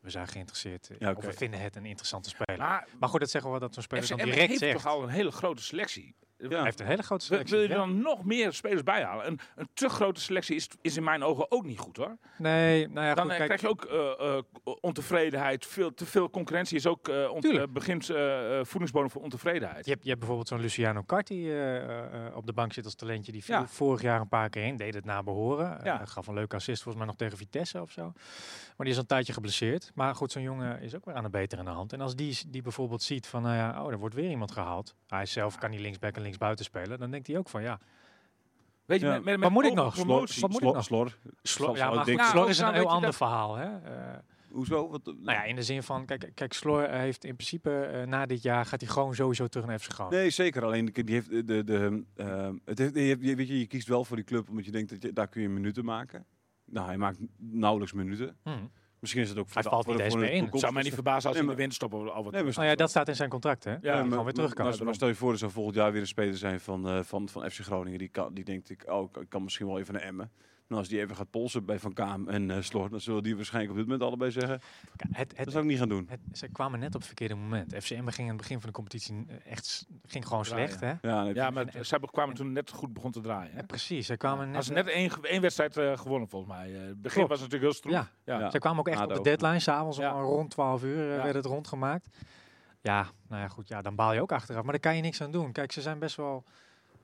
Speaker 2: We zijn geïnteresseerd. eh,
Speaker 1: Ja,
Speaker 2: Of
Speaker 1: oké.
Speaker 2: we vinden het een interessante speler.
Speaker 3: Maar
Speaker 2: Maar goed, dat zeggen we wel dat zo'n speler
Speaker 3: FCM
Speaker 2: dan direct
Speaker 3: heeft
Speaker 2: zegt.
Speaker 3: toch al een hele grote selectie.
Speaker 2: Hij heeft een hele grote
Speaker 3: Wil,
Speaker 2: selectie.
Speaker 3: wil je er
Speaker 2: ja.
Speaker 3: dan nog meer spelers bijhalen? Een, een te grote selectie is, is in mijn ogen ook niet goed hoor.
Speaker 2: Nee, nou ja,
Speaker 3: Dan
Speaker 2: goed,
Speaker 3: eh,
Speaker 2: kijk,
Speaker 3: krijg je ook eh, eh, ontevredenheid. Veel, te veel concurrentie is ook eh ont,
Speaker 2: Tuurlijk.
Speaker 3: eh, begint eh, eh, voedingsbodem voor ontevredenheid.
Speaker 2: je, hebt, je hebt bijvoorbeeld zo'n Luciano Carti eh, eh, eh, op de bank zit als talentje. Die viel
Speaker 3: Ja.
Speaker 2: vorig jaar een paar keer in, deed het na behoren. Eh,
Speaker 3: Ja.
Speaker 2: gaf een leuke assist volgens mij nog tegen Vitesse of zo. Maar die is al een tijdje geblesseerd. Maar goed, zo'n jongen is ook weer aan de betere aan de hand. En als die, s- die bijvoorbeeld ziet van, nou ja, oh, er wordt weer iemand gehaald. Hij zelf kan die linksback en linksbuiten spelen. Dan denkt hij ook van, ja,
Speaker 3: Weet je,
Speaker 1: Ja.
Speaker 3: met, met,
Speaker 2: Wat moet ik
Speaker 3: open
Speaker 2: nog?
Speaker 3: promotie.
Speaker 2: Wat moet ik nog?
Speaker 1: Slor.
Speaker 2: Slor,
Speaker 1: Slor
Speaker 2: ja,
Speaker 1: zou
Speaker 2: maar
Speaker 1: dik-
Speaker 2: goed, Slor
Speaker 3: Ja,
Speaker 2: is
Speaker 3: ook
Speaker 2: een
Speaker 3: nou,
Speaker 2: heel
Speaker 3: weet je
Speaker 2: ander
Speaker 3: dat-
Speaker 2: verhaal. Hè? Eh,
Speaker 1: Hoezo? Wat, nou
Speaker 2: Nou ja, in de zin van, kijk, kijk Sloor heeft in principe eh, na dit jaar gaat hij gewoon sowieso terug naar FC Groningen.
Speaker 1: Nee, zeker. Alleen die die heeft de, de, de, ehm, het heeft, je, hebt- je- weet je, je kiest wel voor die club omdat je denkt dat je, daar kun je minuten maken. Nou, hij maakt nauwelijks minuten.
Speaker 2: Hm.
Speaker 1: Misschien is het ook voor
Speaker 2: Hij
Speaker 1: de-
Speaker 2: valt
Speaker 1: voor
Speaker 2: niet
Speaker 1: de-
Speaker 2: eens
Speaker 1: voor de
Speaker 2: meer in.
Speaker 1: toekomst-
Speaker 3: zou mij niet verbazen als
Speaker 1: Nee, maar-
Speaker 3: hij in de winst stoppen al wat.
Speaker 1: Nee, maar
Speaker 2: Nou ja, dat staat in zijn contract, hè? Ja,
Speaker 3: maar-
Speaker 2: gewoon weer terug kan.
Speaker 1: maar- Maar stel je voor, er zou volgend jaar weer een speler zijn van, eh, van, van FC Groningen. Die, kan, die denkt, ik, oh, ik- ik kan misschien wel even naar Emmen. Nou, als die even gaat polsen bij Van Kaam en eh Slort, dan zullen die waarschijnlijk op dit moment allebei zeggen,
Speaker 2: Kijk, Het,
Speaker 1: dat
Speaker 2: het,
Speaker 1: zou ik niet gaan doen.
Speaker 2: het, ze kwamen net op het verkeerde moment. FCM ging aan het begin van de competitie eh, echt s- ging gewoon slecht, hè?
Speaker 1: Ja, nee,
Speaker 3: Ja, maar
Speaker 2: en-
Speaker 3: het- zij kwamen toen net goed begon te draaien. hè?
Speaker 2: Ja, precies, ze kwamen net,
Speaker 3: Als ze net één, ge- één wedstrijd eh, gewonnen, volgens mij. Eh, het begin
Speaker 2: Klopt.
Speaker 3: was natuurlijk heel stroef.
Speaker 2: Ja.
Speaker 1: Ja.
Speaker 2: Ze kwamen ook echt
Speaker 1: Na
Speaker 2: op
Speaker 1: de
Speaker 2: de
Speaker 1: opening.
Speaker 2: deadline, s'avonds
Speaker 3: Ja.
Speaker 2: avonds om rond 12 uur eh,
Speaker 3: Ja.
Speaker 2: werd het rondgemaakt. Ja, nou ja, goed, ja, dan baal je ook achteraf. Maar daar kan je niks aan doen. Kijk, ze zijn best wel...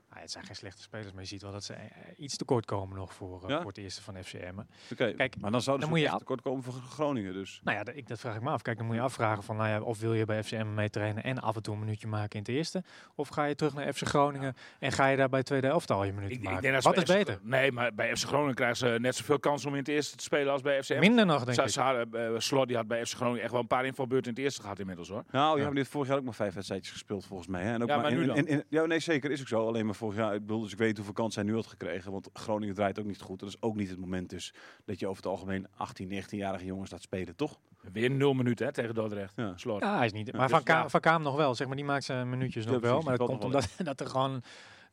Speaker 2: Nou, het zijn geen slechte spelers, maar je ziet wel dat ze eh, iets tekort komen nog voor, eh,
Speaker 1: Ja.
Speaker 2: voor het eerste van FCM.
Speaker 1: oké.
Speaker 2: kijk,
Speaker 1: maar dan zouden
Speaker 2: dan
Speaker 1: ze
Speaker 2: moet je
Speaker 1: echt
Speaker 2: af-
Speaker 1: tekort komen voor Groningen dus.
Speaker 2: Nou ja, d- ik, dat vraag ik me af. Kijk, dan moet je afvragen van, nou ja, of wil je bij FCM mee trainen en af en toe een minuutje maken in het eerste? Of ga je terug naar FC Groningen en ga je daar bij het tweede elftal je minuutje
Speaker 3: Ik,
Speaker 2: maken?
Speaker 3: ik denk dat ze
Speaker 2: Wat is
Speaker 3: bij FC
Speaker 2: beter?
Speaker 3: Nee, maar bij FC Groningen krijgen ze net zoveel kans om in het eerste te spelen als bij FCM.
Speaker 2: Minder nog, denk
Speaker 3: Sa-
Speaker 2: ik.
Speaker 3: Sa- eh, Slot die had bij FC Groningen echt wel een paar invalbeurten in het eerste gehad inmiddels hoor.
Speaker 1: Nou, ja,
Speaker 2: Ja.
Speaker 1: maar die heeft vorig jaar ook maar vijf wedstrijdjes gespeeld volgens mij. Hè? En ook
Speaker 3: Ja, maar
Speaker 1: in-
Speaker 3: nu dan?
Speaker 1: in- in- ja, nee, zeker is ook zo. Alleen maar vorig jaar, ik bedoel, dus ik weet hoeveel kans hij nu had gekregen. Want Groningen draait ook niet goed. Dat is ook niet het moment dus dat je over het algemeen 18, 19-jarige jongens laat spelen, toch?
Speaker 3: Weer nul minuten hè, tegen Dordrecht.
Speaker 1: Ja.
Speaker 3: Slot.
Speaker 2: Ja, hij is niet. Maar
Speaker 1: dus
Speaker 2: van, Ka
Speaker 3: ja.
Speaker 2: van Kaam nog wel, zeg maar. Die maakt zijn minuutjes
Speaker 1: Ja,
Speaker 2: nog wel.
Speaker 1: precies,
Speaker 2: Maar
Speaker 1: die
Speaker 2: dat komt
Speaker 1: valt nog
Speaker 2: omdat dat er gewoon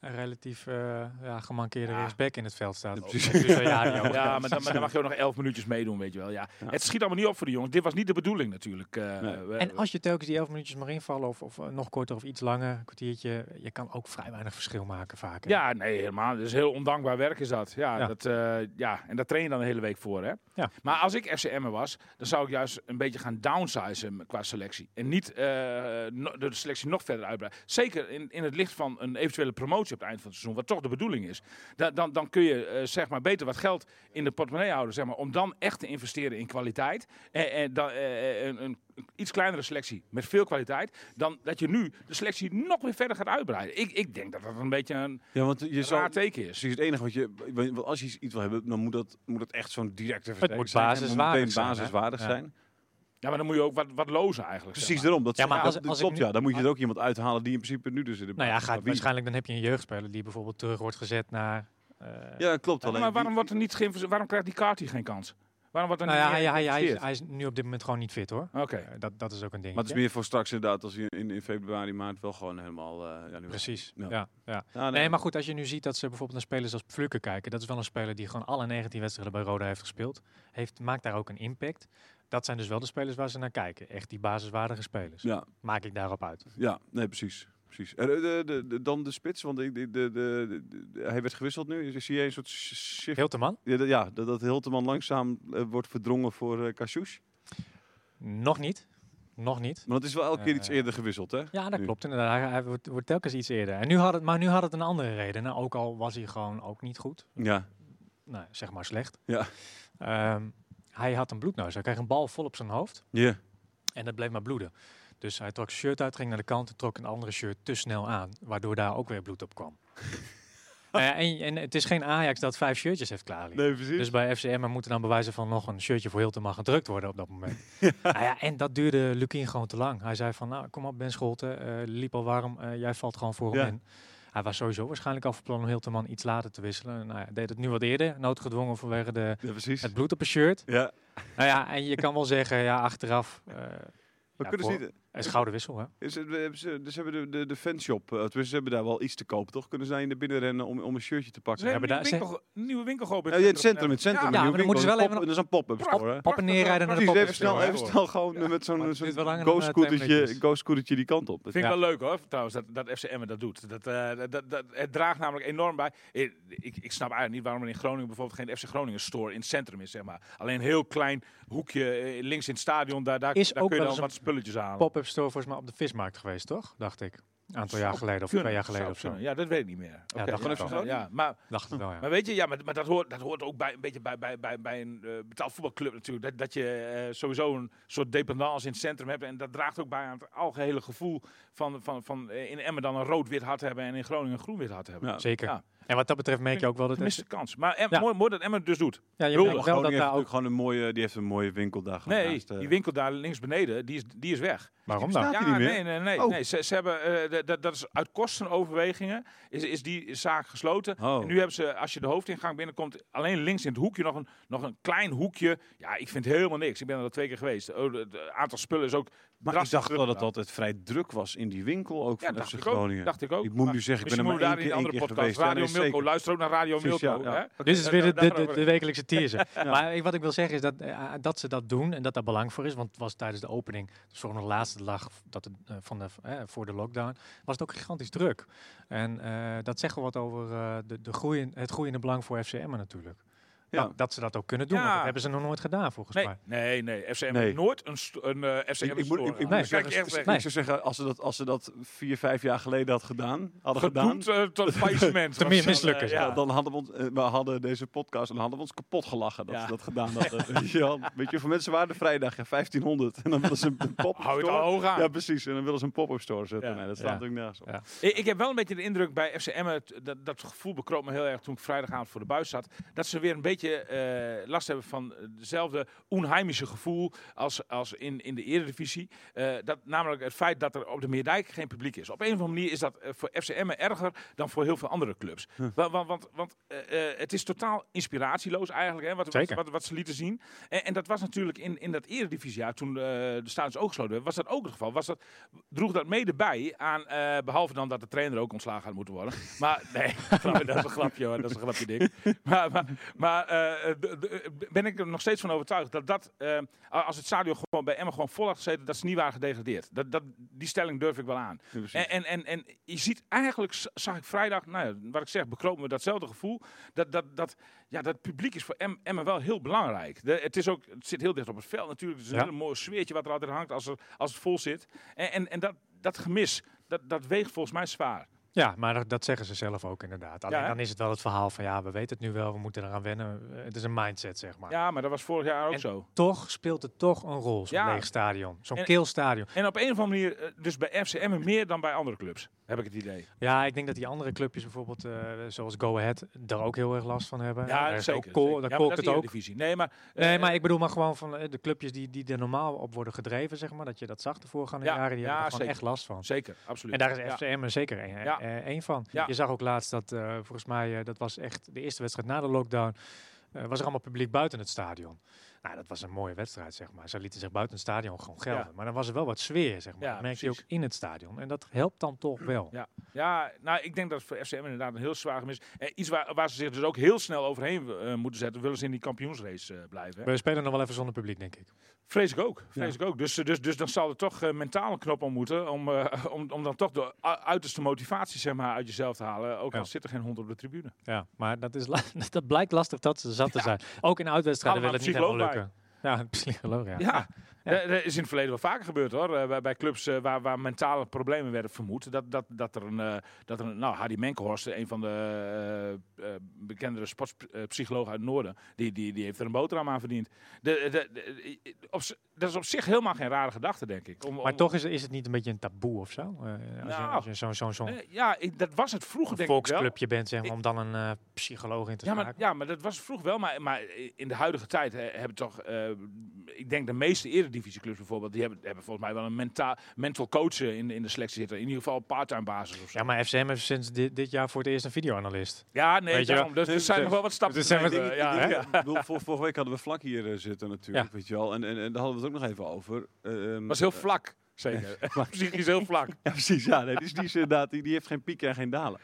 Speaker 2: een relatief eh ja, gemankeerde
Speaker 3: Ja.
Speaker 2: rechtsback in het veld staat.
Speaker 1: Ja, precies.
Speaker 2: Dus, eh, ja, die ook.
Speaker 3: Oh. Ja, maar dan, maar dan mag je ook nog elf minuutjes meedoen, weet je wel. Ja.
Speaker 1: Ja.
Speaker 3: Het schiet allemaal niet op voor de jongens. Dit was niet de bedoeling natuurlijk. eh,
Speaker 1: Nee.
Speaker 3: we-
Speaker 2: En als je telkens die elf minuutjes maar invallen, of, of eh, nog korter of iets langer, een kwartiertje, je kan ook vrij weinig verschil maken vaak. hè.
Speaker 3: Ja, nee, helemaal. Dat is heel ondankbaar werk is dat. Ja,
Speaker 2: Ja.
Speaker 3: Dat, eh, ja. en daar train je dan de hele week voor, hè?
Speaker 2: Ja.
Speaker 3: Maar als ik FCM'er was, dan zou ik juist een beetje gaan downsizen qua selectie. En niet eh, no- de selectie nog verder uitbreiden. Zeker in, in het licht van een eventuele promotie op het eind van het seizoen, wat toch de bedoeling is. Da- dan, dan kun je eh, zeg maar beter wat geld in de portemonnee houden, zeg maar, om dan echt te investeren in kwaliteit. En, en dan, eh, een, een iets kleinere selectie met veel kwaliteit, dan dat je nu de selectie nog weer verder gaat uitbreiden. Ik, ik denk dat dat een beetje een
Speaker 1: Ja, want je
Speaker 3: een raar
Speaker 1: zou...
Speaker 3: teken is.
Speaker 1: Precies, het enige wat je... want Als je iets wil hebben, dan moet dat, moet dat echt zo'n directe versterking
Speaker 2: moet
Speaker 1: zijn. Het
Speaker 2: basiswaardig
Speaker 1: meteen
Speaker 2: zijn, hè?
Speaker 1: basiswaardig
Speaker 2: Ja.
Speaker 1: zijn.
Speaker 3: Ja, maar dan moet je ook wat, wat lozen eigenlijk.
Speaker 1: Precies
Speaker 3: zeg maar.
Speaker 1: daarom. Dat,
Speaker 2: Ja, maar
Speaker 1: dat-
Speaker 2: als-
Speaker 1: dat
Speaker 2: als ik
Speaker 1: klopt,
Speaker 2: nu-
Speaker 1: ja. Dan moet je er ook iemand uithalen die in principe nu dus in de
Speaker 2: Nou ja,
Speaker 1: basis-
Speaker 2: gaat,
Speaker 1: Maar wie-
Speaker 2: waarschijnlijk dan heb je een jeugdspeler die bijvoorbeeld terug wordt gezet naar. eh,
Speaker 1: Ja, klopt.
Speaker 3: Ja,
Speaker 1: Alleen
Speaker 3: maar waarom,
Speaker 1: wie-
Speaker 3: wordt er niet geïnvesteerd? waarom krijgt die Carty geen kans? Waarom wordt er
Speaker 2: nou ja,
Speaker 3: niet
Speaker 2: hij,
Speaker 3: meer
Speaker 2: hij, hij, is,
Speaker 3: geïnvesteerd?
Speaker 2: hij is nu op dit moment gewoon niet fit hoor.
Speaker 3: Oké.
Speaker 2: Eh, dat, dat is ook een ding.
Speaker 1: Maar het is meer voor straks inderdaad, als je in, in februari, maart wel gewoon helemaal... eh, ja, nu-
Speaker 2: Precies.
Speaker 1: Ja.
Speaker 2: ja, ja.
Speaker 1: Ja, nee,
Speaker 2: Nee, maar goed, als je nu ziet dat ze bijvoorbeeld naar spelers als Fluke kijken, dat is wel een speler die gewoon alle 19 wedstrijden bij Roda heeft gespeeld. Heeft, maakt daar ook een impact. Dat zijn dus wel de spelers waar ze naar kijken. Echt die basiswaardige spelers.
Speaker 1: Ja,
Speaker 2: Maak ik daarop uit.
Speaker 1: ja, nee, precies. precies. Eh, de, de, de- dan de spits, want ik- de, de, de, de- de- hij werd gewisseld nu. Is- Zie jij een soort sh- shift?
Speaker 2: Hilterman?
Speaker 1: Ja, dat- Ja, dat, dat Hilteman langzaam eh, wordt verdrongen voor eh Kassouche.
Speaker 2: Nog niet. Nog niet.
Speaker 1: Maar dat is wel elke keer
Speaker 2: Eh,
Speaker 1: iets eerder gewisseld, hè?
Speaker 2: Ja, dat
Speaker 1: Nu.
Speaker 2: klopt inderdaad. Hij, hij wordt, wordt telkens iets eerder. En nu had het, maar nu had het een andere reden. Nou, ook al was hij gewoon ook niet goed.
Speaker 1: Ja,
Speaker 2: Nou, zeg maar slecht.
Speaker 1: Ja.
Speaker 2: Ehm, hij had een bloedneus. Hij kreeg een bal vol op zijn hoofd.
Speaker 1: ja.
Speaker 2: En dat bleef maar bloeden. Dus hij trok zijn shirt uit, ging naar de kant en trok een andere shirt te snel aan. Waardoor daar ook weer bloed op kwam. Nou ja, en, en het is geen Ajax dat vijf shirtjes heeft klaar liggen.
Speaker 1: Nee, precies.
Speaker 2: Dus bij FCM er moeten dan bewijzen van nog een shirtje voor heel te mag gedrukt worden op dat moment. Nou ja, en dat duurde Lukien gewoon te lang. Hij zei van, nou kom op Ben Scholten, eh, liep al warm, eh, jij valt gewoon voor hem
Speaker 1: Ja.
Speaker 2: in. Hij was sowieso waarschijnlijk al van plan om Hilterman iets later te wisselen. Nou ja, deed het nu wat eerder, noodgedwongen vanwege de,
Speaker 1: ja, precies.
Speaker 2: het bloed op een shirt.
Speaker 1: Ja,
Speaker 2: Nou ja, en je kan wel zeggen, ja, achteraf, eh
Speaker 1: we
Speaker 2: Ja,
Speaker 1: kunnen ze
Speaker 2: voor-
Speaker 1: niet...
Speaker 2: een schouderwissel hè.
Speaker 1: Is het, hebben ze, dus hebben de, de, de fanshop, eh, tenminste, ze hebben daar wel iets te kopen, toch? Kunnen ze daar in de binnen rennen om, om een shirtje te
Speaker 3: Ze
Speaker 1: pakken?
Speaker 3: hebben
Speaker 2: Ja,
Speaker 3: een
Speaker 2: maar
Speaker 3: nieuwe winkel, nieuwe winkel geopend.
Speaker 1: Ja, in het centrum, in het centrum.
Speaker 2: Ja,
Speaker 1: een
Speaker 2: maar dan
Speaker 1: nieuwe
Speaker 2: moeten ze
Speaker 1: winkel,
Speaker 2: wel
Speaker 1: een pop- Dat is een pop-up store, hè?
Speaker 2: Op en neer rijden naar de
Speaker 1: Precies, even
Speaker 2: poppenstore,
Speaker 1: snel,
Speaker 2: hè.
Speaker 1: even snel gewoon eh, met
Speaker 2: Maar
Speaker 1: zo'n
Speaker 2: het duurt wel
Speaker 1: zo'n
Speaker 2: langer dan, eh, twee
Speaker 1: go-scootertje
Speaker 2: minuutjes.
Speaker 1: go-scootertje die kant op.
Speaker 3: Vind ik
Speaker 2: Ja.
Speaker 3: wel leuk hoor, trouwens, dat, dat FCM dat doet. Dat, eh, dat, dat, dat- het draagt namelijk enorm bij. Ik, ik, ik snap eigenlijk niet waarom er in Groningen bijvoorbeeld geen FC Groningen store in het centrum is, zeg maar. Alleen een heel klein hoekje eh, links in het stadion, daar, daar,
Speaker 2: Is
Speaker 3: daar
Speaker 2: ook
Speaker 3: kun je
Speaker 2: wel
Speaker 3: dan
Speaker 2: eens
Speaker 3: wat spulletjes aan.
Speaker 2: Pop-up store volgens mij op de vismarkt geweest, toch? Dacht ik. Een aantal jaar geleden of twee jaar geleden of zo.
Speaker 3: Ja, dat weet ik niet meer. Oké,
Speaker 2: dat kan
Speaker 3: ja,
Speaker 2: ook
Speaker 3: ja,
Speaker 2: wel.
Speaker 3: ja, maar
Speaker 2: Dacht het wel, ja.
Speaker 3: Maar weet je, ja, maar, maar dat, hoort, dat hoort ook bij, een beetje bij, bij, bij, bij een eh, betaald voetbalclub natuurlijk. Dat, dat je eh, sowieso een soort dependance in het centrum hebt. En dat draagt ook bij aan het algehele gevoel van, van, van eh, in Emmen dan een rood-wit hart hebben en in Groningen een groen-wit hart hebben.
Speaker 1: Ja.
Speaker 2: Zeker.
Speaker 3: Ja.
Speaker 2: En wat dat betreft merk je ook wel dat...
Speaker 3: Miste
Speaker 2: het-
Speaker 3: kans. Maar Em-
Speaker 2: Ja.
Speaker 3: mooi, mooi dat Emma het dus doet.
Speaker 2: Ja, je
Speaker 3: Hulde.
Speaker 2: merkt wel dat daar ook...
Speaker 1: gewoon een mooie, die heeft een mooie winkel daar. gewoon
Speaker 3: Nee,
Speaker 1: naast, eh.
Speaker 3: die winkel daar links beneden, die is, die is weg.
Speaker 2: Waarom nou? dan?
Speaker 1: Staat die niet meer?
Speaker 3: nee, nee, nee.
Speaker 1: Oh.
Speaker 3: nee. Ze, ze hebben, eh, dat- dat, dat is uit kostenoverwegingen is, is die zaak gesloten.
Speaker 1: Oh.
Speaker 3: En nu hebben ze, als je de hoofdingang binnenkomt, alleen links in het hoekje nog een, nog een klein hoekje. Ja, ik vind helemaal niks. Ik ben er al twee keer geweest. Het aantal spullen is ook
Speaker 1: maar ik
Speaker 3: drastisch
Speaker 1: dacht wel dat het
Speaker 3: teruggegaan.
Speaker 1: altijd vrij druk was in die winkel ook
Speaker 3: Ja,
Speaker 1: van
Speaker 3: dacht
Speaker 1: FC
Speaker 3: ik ook.
Speaker 1: Groningen.
Speaker 3: Dacht ik ook.
Speaker 1: Ik moet
Speaker 3: Maar
Speaker 1: nu zeggen, ik ben
Speaker 3: misschien
Speaker 1: er maar
Speaker 3: moeten we
Speaker 1: één keer,
Speaker 3: daar in
Speaker 1: één
Speaker 3: die andere
Speaker 1: keer geweest.
Speaker 3: podcast,
Speaker 1: Ja,
Speaker 3: Radio
Speaker 1: nee,
Speaker 3: Milko,
Speaker 1: zeker.
Speaker 3: luister ook naar Radio
Speaker 1: Precies, ja,
Speaker 3: Milko.
Speaker 1: ja.
Speaker 3: hè?
Speaker 2: Dit is
Speaker 3: Eh,
Speaker 2: weer de,
Speaker 3: daar-
Speaker 2: de, de,
Speaker 3: daarover.
Speaker 2: de wekelijkse teaser. Maar ik- wat ik wil zeggen is dat, eh, dat ze dat doen en dat daar belang voor is. Want het was tijdens de opening, dus voor de laatste dag dat het, eh, van de, eh, voor de lockdown, was het ook gigantisch druk. En eh, dat zegt wel wat over eh, de, de groei, in- het groeiende belang voor FCM natuurlijk.
Speaker 1: Ja.
Speaker 2: Dat, dat ze dat ook kunnen doen, want
Speaker 3: Ja.
Speaker 2: dat hebben ze nog nooit gedaan volgens
Speaker 3: Nee,
Speaker 2: mij.
Speaker 3: nee, nee. FCM
Speaker 1: Nee.
Speaker 3: heeft nooit een, sto- een eh, FCM
Speaker 1: Ik, ik moet, ik, ik
Speaker 3: storen.
Speaker 1: moet
Speaker 2: Nee.
Speaker 3: Kijk,
Speaker 1: zeggen,
Speaker 3: echt
Speaker 1: s-
Speaker 3: weg.
Speaker 2: Nee.
Speaker 1: ik zou zeggen, als ze, dat, als ze dat vier, vijf jaar geleden had gedaan, hadden gedaan,
Speaker 3: Gedoemd eh, tot faillissement.
Speaker 2: Te
Speaker 3: was
Speaker 2: meer
Speaker 3: dan,
Speaker 2: mislukken,
Speaker 3: eh,
Speaker 2: ja.
Speaker 1: ja, dan hadden we, ons, eh, we hadden deze podcast en hadden we ons kapot gelachen dat
Speaker 3: Ja.
Speaker 1: ze dat gedaan hadden. Weet je wel? Weet je, voor mensen waren de vrijdag ja, 1500 en dan willen ze een, een pop
Speaker 3: Hou het al hoog aan.
Speaker 1: Ja, precies. En dan willen ze een pop-up store zetten.
Speaker 3: Ja.
Speaker 1: Nee, dat
Speaker 2: Ja.
Speaker 1: staat natuurlijk nergens op.
Speaker 2: Ja.
Speaker 3: Ik, ik heb wel een beetje de indruk bij FCM, het- dat, dat gevoel bekroopt me heel erg toen ik vrijdagavond voor de buis zat, dat ze weer een beetje eh, last hebben van hetzelfde onheimische gevoel als, als in, in de eredivisie. Eh, dat, namelijk het feit dat er op de Meerdijk geen publiek is. Op een of andere manier is dat eh, voor FCM erger dan voor heel veel andere clubs. Want, want, want, want, eh, eh, het is totaal inspiratieloos eigenlijk, hè, wat, wat,
Speaker 2: Zeker.
Speaker 3: wat, wat ze lieten zien. En, en dat was natuurlijk in, in dat eredivisiejaar, toen eh, de stadions ook gesloten werden, was dat ook het geval. Was dat droeg dat mede bij aan, eh, behalve dan dat de trainer ook ontslagen had moeten worden. Maar nee, grapje, dat is een grapje hoor, dat is een grapje dik. Maar, maar, maar eh, d- d- ben ik er nog steeds van overtuigd dat dat, eh, als het stadion gewoon bij Emmen gewoon vol had gezeten, dat ze niet waren gedegradeerd. Dat, dat, die stelling durf ik wel aan.
Speaker 1: Ja, precies.
Speaker 3: En, en, en, en je ziet eigenlijk, z- zag ik vrijdag, nou ja, wat ik zeg, bekroop me datzelfde gevoel. Dat, dat, dat, ja, dat publiek is voor Em- Emmen wel heel belangrijk. De, het, is ook, het zit heel dicht op het veld natuurlijk. Het is een
Speaker 2: Ja.
Speaker 3: heel mooi sfeertje wat er altijd hangt als, er, als het vol zit. En, en, en dat, dat gemis, dat, dat weegt volgens mij zwaar.
Speaker 2: Ja, maar dat, dat zeggen ze zelf ook inderdaad. Alleen
Speaker 3: hè?
Speaker 2: dan is het wel het verhaal van ja, we weten het nu wel, we moeten eraan wennen. Eh, Het is een mindset, zeg maar.
Speaker 3: Ja, maar dat was vorig jaar ook
Speaker 2: En-
Speaker 3: zo.
Speaker 2: Toch speelt het toch een rol, zo'n
Speaker 3: Ja.
Speaker 2: leeg stadion. Zo'n
Speaker 3: En-
Speaker 2: kil stadion.
Speaker 3: En op een of andere manier, eh, dus bij FC Emmen meer dan bij andere clubs, heb ik het idee.
Speaker 2: Ja, ik denk dat die andere clubjes bijvoorbeeld, eh, zoals Go Ahead, daar ook heel erg last van hebben.
Speaker 3: Ja,
Speaker 2: Daar is
Speaker 3: zeker.
Speaker 2: ook kool-
Speaker 3: zeker.
Speaker 2: Daar
Speaker 3: Ja, maar
Speaker 2: kookt
Speaker 3: dat is
Speaker 2: het ook.
Speaker 3: Eredivisie. Nee, maar... eh,
Speaker 2: Nee, maar ik bedoel maar gewoon van eh, de clubjes die, die er normaal op worden gedreven, zeg maar. Dat je dat zag de voorgaande
Speaker 3: Ja,
Speaker 2: jaren, die hebben er
Speaker 3: ja,
Speaker 2: gewoon
Speaker 3: zeker.
Speaker 2: echt last van.
Speaker 3: eh, Zeker, absoluut.
Speaker 2: En daar
Speaker 3: Ja.
Speaker 2: is FCM er zeker één
Speaker 3: Ja.
Speaker 2: eh, één van.
Speaker 3: Ja.
Speaker 2: Je zag ook laatst dat, eh, volgens mij, eh, dat was echt de eerste wedstrijd na de lockdown, eh, was er allemaal publiek buiten het stadion. Nou, dat was een mooie wedstrijd, zeg maar. Ze lieten zich buiten het stadion gewoon gelden.
Speaker 3: Ja.
Speaker 2: Maar dan was er wel wat sfeer, zeg maar.
Speaker 3: Ja,
Speaker 2: dat merk je
Speaker 3: precies.
Speaker 2: ook in het stadion. En dat helpt dan toch wel.
Speaker 3: Ja. ja, nou, ik denk dat het voor FCM inderdaad een heel zwaar gemis is. Eh, iets waar, waar ze zich dus ook heel snel overheen eh, moeten zetten, willen ze in die kampioensrace eh, blijven. Hè?
Speaker 2: We spelen nog wel even zonder publiek, denk ik.
Speaker 3: Vrees ik ook. Vrees ik ook. Dus, eh, dus, dus dan zal er toch eh, mentaal een knop om moeten, om, eh, om, om dan toch de u- uiterste motivatie zeg maar, uit jezelf te halen, ook
Speaker 2: Ja.
Speaker 3: al zit er geen hond op de tribune.
Speaker 2: Ja, maar dat, is la- dat blijkt lastig dat ze zat te zijn. Ook in uitwedstrijden wil
Speaker 3: Allemaal
Speaker 2: het niet helemaal
Speaker 3: psycholoog
Speaker 2: lukken. Ja, een psycholoog, ja. Ah,
Speaker 3: Ja,
Speaker 2: Ja.
Speaker 3: Eh, dat is in het verleden wel vaker gebeurd hoor. Eh, bij- bij clubs eh, waar, waar mentale problemen werden vermoed. Dat, dat, dat er een, eh, dat er een nou, Hardy Menkhorst, een van de eh, eh, bekendere sportpsychologen uit het Noorden, die, die, die heeft er een boterham aan verdiend. De, de, de- eh, op z- dat is op zich helemaal geen rare gedachte, denk ik. Om, om-
Speaker 2: Maar toch is, is het niet een beetje een taboe of zo? Eh, als, je,
Speaker 3: Nou,
Speaker 2: als je zo'n zo'n zo'n
Speaker 3: Eh, ja, ik- dat was het vroeger, denk ik wel.
Speaker 2: volksclubje bent, zeg maar, om dan een eh, psycholoog in te
Speaker 3: Ja maar,
Speaker 2: schakelen.
Speaker 3: ja, maar dat was vroeg wel. Maar, maar in de huidige tijd eh, hebben toch... eh, ik denk de meeste eredivisieclubs bijvoorbeeld... die hebben, hebben volgens mij wel een menta mental coach eh, in, in de selectie zitten. In ieder geval op part-time basis of zo.
Speaker 2: Ja, maar FCM heeft sinds dit, dit jaar voor het eerst een videoanalist.
Speaker 3: Ja, nee,
Speaker 2: Weet je
Speaker 3: daarom. Dus er
Speaker 1: Dus-
Speaker 3: zijn
Speaker 1: dus-
Speaker 3: nog wel wat stappen.
Speaker 2: dus zijn
Speaker 3: te
Speaker 2: we-
Speaker 3: zetten,
Speaker 2: eh,
Speaker 3: ja,
Speaker 2: die-
Speaker 3: hè?
Speaker 2: die-
Speaker 1: Ja, ik bedoel, vor- vorige week hadden we vlak hier eh, zitten natuurlijk,
Speaker 2: Ja.
Speaker 1: weet je wel. En, en, en daar hadden we het ook nog even over. Ehm,
Speaker 3: was heel vlak, zeker. Psychisch heel vlak.
Speaker 1: Ja, precies. Ja, nee, dus die, is inderdaad, die, die heeft geen pieken en geen dalen.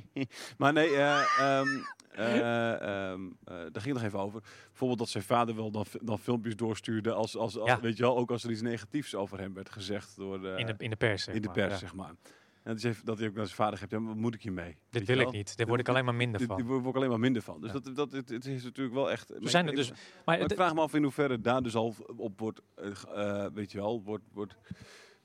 Speaker 1: maar nee, eh, ehm, eh, ehm, eh, daar ging het nog even over. Bijvoorbeeld dat zijn vader wel dan, fi- dan filmpjes doorstuurde. Als, als, als-
Speaker 2: Ja.
Speaker 1: Weet je wel, ook als er iets negatiefs over hem werd gezegd door de,
Speaker 2: in, de, in de pers, zeg
Speaker 1: Eh, in de
Speaker 2: maar.
Speaker 1: pers,
Speaker 2: Ja.
Speaker 1: zeg maar. En dat, is even, dat hij ook naar zijn vader geeft, ja, maar wat moet ik hiermee?
Speaker 2: Dit wil ik niet. Daar word ik alleen maar minder
Speaker 1: Daar
Speaker 2: van.
Speaker 1: word ik alleen maar minder van. Dus
Speaker 2: Ja.
Speaker 1: dat, dat, het, het is natuurlijk wel echt...
Speaker 2: Zo zijn er
Speaker 1: ik-
Speaker 2: dus...
Speaker 1: maar
Speaker 2: Maar
Speaker 1: ik
Speaker 2: het-
Speaker 1: vraag me af in hoeverre daar dus al op wordt, eh, ge- eh, weet je wel, wordt, wordt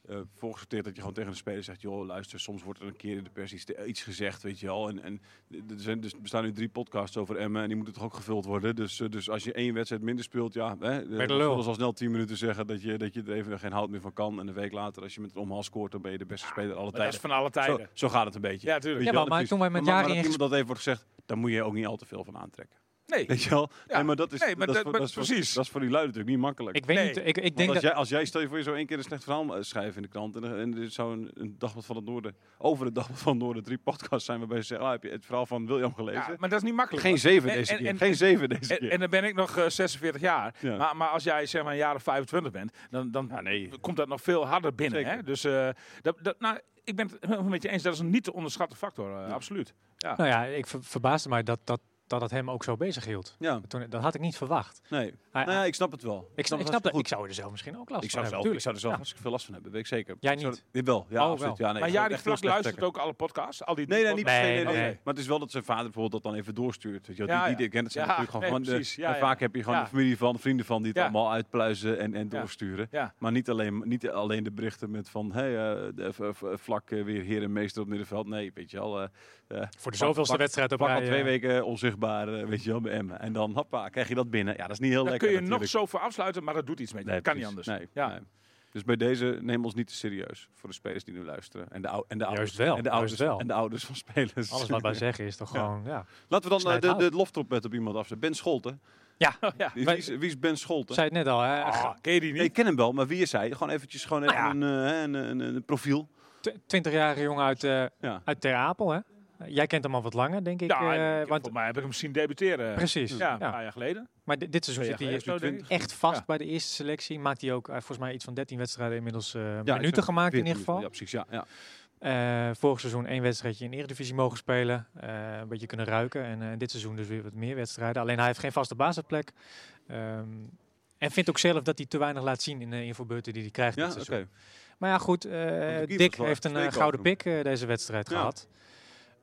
Speaker 1: eh voorgesorteerd dat je gewoon tegen de speler zegt... joh, luister, soms wordt er een keer in de pers iets, iets gezegd, weet je wel. En, en er, zijn, dus, er bestaan nu drie podcasts over Emmen en die moeten toch ook gevuld worden. Dus, eh, dus als je één wedstrijd minder speelt, ja... Hè, eh,
Speaker 2: Bij de
Speaker 1: dat
Speaker 2: lul.
Speaker 1: zullen ze al snel tien minuten zeggen dat je, dat je er even geen hout meer van kan. En een week later, als je met een omhaal scoort, dan ben je de beste speler alle
Speaker 3: Dat is
Speaker 1: tijden.
Speaker 3: van alle
Speaker 1: Zo,
Speaker 3: tijden.
Speaker 1: zo gaat het een beetje.
Speaker 3: Ja, tuurlijk.
Speaker 1: Weet je
Speaker 2: Ja,
Speaker 1: wel,
Speaker 2: maar
Speaker 1: dat is-
Speaker 2: toen wij met
Speaker 1: maar- maar
Speaker 2: jaren
Speaker 1: dat
Speaker 2: in-
Speaker 1: iemand dat even wordt gezegd, daar moet je ook niet al te veel van aantrekken.
Speaker 3: Nee.
Speaker 1: Weet je wel? nee, maar dat is,
Speaker 3: nee,
Speaker 1: dat,
Speaker 3: maar
Speaker 1: is
Speaker 3: dat-
Speaker 1: voor-
Speaker 3: maar
Speaker 1: dat is voor-
Speaker 3: precies.
Speaker 1: dat is voor die lui natuurlijk niet makkelijk.
Speaker 2: Ik weet
Speaker 3: Nee.
Speaker 2: niet, ik, ik
Speaker 1: Want
Speaker 2: denk
Speaker 1: als,
Speaker 2: dat...
Speaker 1: jij, als jij, stel je voor je zo één keer een slecht verhaal eh, schrijft in de krant. En, er- en er zou een, een dagblad van het Noorden, over het dagblad van het Noorden, drie podcasts zijn waarbij ze zeggen: ah, heb je het verhaal van William gelezen?
Speaker 3: Ja, maar dat is niet makkelijk.
Speaker 1: Geen zeven
Speaker 3: En-
Speaker 1: deze
Speaker 3: en-
Speaker 1: keer.
Speaker 3: en-
Speaker 1: Geen zeven deze
Speaker 3: En,
Speaker 1: keer.
Speaker 3: en dan ben ik nog eh, 46 jaar.
Speaker 1: Ja.
Speaker 3: Maar, maar als jij zeg maar een jaar of 25 bent, dan, dan
Speaker 1: Ja, nee.
Speaker 3: komt dat nog veel harder binnen.
Speaker 1: Zeker.
Speaker 3: Hè? Dus eh, dat, dat, nou, ik ben het helemaal met je eens. Dat is een niet te onderschatten factor, eh, absoluut.
Speaker 2: Nou ja, ik ver- verbaasde mij dat, dat, dat het hem ook zo bezig hield.
Speaker 1: ja,
Speaker 2: Toen, dat had ik niet verwacht.
Speaker 1: nee.
Speaker 2: Hij-
Speaker 1: Nou ja, ik snap het wel.
Speaker 2: Ah, ik, snap- ik
Speaker 1: het
Speaker 2: snap dat.
Speaker 1: hartstikke
Speaker 2: Ik zou er zelf misschien ook last
Speaker 1: goed. Ik
Speaker 2: van
Speaker 1: zou,
Speaker 2: hebben.
Speaker 1: zelf, ik
Speaker 2: tuurlijk.
Speaker 1: zou er zelf
Speaker 2: Ja.
Speaker 1: hartstikke veel last van hebben, weet ik zeker.
Speaker 2: Jij
Speaker 1: Ik zou-
Speaker 2: niet?
Speaker 1: Dit wel, ja,
Speaker 2: Oh,
Speaker 1: absoluut.
Speaker 2: wel.
Speaker 1: Ja, nee,
Speaker 3: maar
Speaker 1: ik zou
Speaker 3: Jari
Speaker 1: echt wel
Speaker 3: Vlak
Speaker 1: slecht
Speaker 3: luistert
Speaker 1: trekken.
Speaker 3: ook alle podcasts. Al die
Speaker 1: Nee, nee, niet per se,
Speaker 2: Nee,
Speaker 1: nee, nee,
Speaker 2: nee.
Speaker 1: nee. Maar het is wel dat zijn vader bijvoorbeeld dat dan even doorstuurt. Weet je, wel.
Speaker 3: Ja,
Speaker 1: die, die,
Speaker 3: ja.
Speaker 1: die kent het zijn
Speaker 3: Ja,
Speaker 1: natuurlijk
Speaker 3: nee,
Speaker 1: gewoon. gewoon de-
Speaker 3: precies. Ja,
Speaker 1: en
Speaker 3: ja.
Speaker 1: Vaak heb je gewoon
Speaker 3: Ja.
Speaker 1: de familie van, vrienden van die het
Speaker 3: Ja.
Speaker 1: allemaal uitpluizen en, en
Speaker 3: Ja.
Speaker 1: doorsturen.
Speaker 3: Ja.
Speaker 1: Maar niet alleen, niet alleen de berichten met van hey, eh, de- v- v- vlak eh, weer heer en meester op middenveld. Nee, weet je wel. eh, eh,
Speaker 2: Voor de
Speaker 1: Vlak-
Speaker 2: zoveelste
Speaker 1: Vlak-
Speaker 2: wedstrijd op
Speaker 1: vlak al
Speaker 2: rij.
Speaker 1: twee
Speaker 2: eh,
Speaker 1: weken onzichtbaar, eh, weet je wel, bij Emmen. En dan hoppa, krijg je dat binnen. Ja, dat is niet heel
Speaker 3: Daar
Speaker 1: lekker.
Speaker 3: kun je nog
Speaker 1: natuurlijk.
Speaker 3: zo voor afsluiten, maar dat doet iets met je.
Speaker 1: Nee,
Speaker 3: dat kan niet
Speaker 1: precies.
Speaker 3: anders.
Speaker 1: Nee,
Speaker 3: Ja.
Speaker 1: nee. Dus bij deze neem ons niet te serieus voor de spelers die nu luisteren. En de, ou- en de ouders.
Speaker 2: wel,
Speaker 1: En de
Speaker 2: juist
Speaker 1: ouders,
Speaker 2: wel.
Speaker 1: En de ouders van spelers.
Speaker 2: Alles wat wij zeggen is toch
Speaker 1: Ja.
Speaker 2: gewoon... Ja.
Speaker 1: Laten we dan eh,
Speaker 2: Snijd
Speaker 1: de,
Speaker 2: hout.
Speaker 1: de loftrompet op iemand afzetten. Ben Scholten.
Speaker 2: Ja,
Speaker 3: ja.
Speaker 1: Wie
Speaker 2: Wij-
Speaker 1: is, wie is Ben
Speaker 2: ik
Speaker 1: Scholten?
Speaker 2: zei het net al. Hè.
Speaker 3: Ah, ken je die
Speaker 1: Nee,
Speaker 3: niet?
Speaker 1: ik ken hem wel, maar wie is hij? Gewoon eventjes gewoon even
Speaker 2: Nou
Speaker 1: een, eh, een, een, een profiel.
Speaker 2: Tw- 20-jarige jongen uit, eh,
Speaker 1: Ja.
Speaker 2: uit Ter Apel, hè? Jij kent hem al wat langer, denk ik.
Speaker 3: ja,
Speaker 2: eh,
Speaker 3: ik-
Speaker 2: want-
Speaker 3: volgens mij heb ik hem zien debuteren.
Speaker 2: precies.
Speaker 3: Ja,
Speaker 2: Ja.
Speaker 3: een paar jaar geleden.
Speaker 2: Maar di- dit seizoen
Speaker 3: Twee
Speaker 2: zit hij
Speaker 3: jaar
Speaker 2: hier
Speaker 3: geleden of zo, denk ik.
Speaker 2: echt vast
Speaker 3: Ja.
Speaker 2: bij de eerste selectie. Maakt hij ook eh, volgens mij iets van 13 wedstrijden inmiddels eh,
Speaker 1: Ja,
Speaker 2: minuten gemaakt in ieder geval.
Speaker 1: Ja, precies. Ja, ja.
Speaker 2: Eh, vorig seizoen één wedstrijdje in Eredivisie mogen spelen. eh, een beetje kunnen ruiken. En eh, dit seizoen dus weer wat meer wedstrijden. Alleen hij heeft geen vaste basisplek. Ehm, en vindt ook zelf dat hij te weinig laat zien in de infobeurten die hij krijgt
Speaker 1: Ja,
Speaker 2: dit
Speaker 1: oké.
Speaker 2: seizoen. Maar ja, goed. eh,
Speaker 1: keeper
Speaker 2: Dick
Speaker 1: is wel echt
Speaker 2: heeft een eh,
Speaker 1: steken
Speaker 2: gouden
Speaker 1: over
Speaker 2: pik eh, deze wedstrijd
Speaker 1: Ja.
Speaker 2: gehad.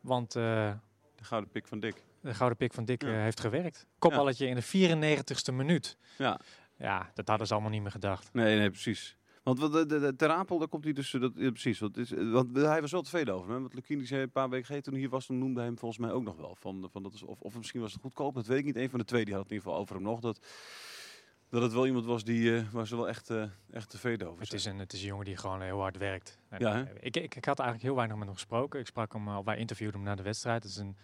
Speaker 2: Want... eh,
Speaker 1: De gouden pik van Dick.
Speaker 2: de gouden pik van Dick
Speaker 1: Ja.
Speaker 2: eh, heeft gewerkt. Kopballetje in de 94ste minuut.
Speaker 1: Ja.
Speaker 2: Ja, dat hadden ze allemaal niet meer gedacht.
Speaker 1: Nee, nee, precies. Want wat, de, de, de- Ter Apel, daar komt hij dus... eh, Dat, ja, precies, want, het is, eh, want hij was wel tevreden over hem. Want Lukien, die zei een paar weken geleden, toen hij hier was, toen noemde hij hem volgens mij ook nog wel. Van, van, dat is, of, of misschien was het goedkoop, dat weet ik niet. Een van de twee die had het in ieder geval over hem nog. Dat, dat het wel iemand was die, eh, waar ze wel echt, eh, echt tevreden over
Speaker 2: Het
Speaker 1: zijn.
Speaker 2: is, een, het is een jongen die gewoon heel hard werkt. En,
Speaker 1: Ja, hè?
Speaker 2: eh, ik, ik, ik had eigenlijk heel weinig met hem gesproken. Ik sprak hem al, wij interviewden hem na de wedstrijd. Het is een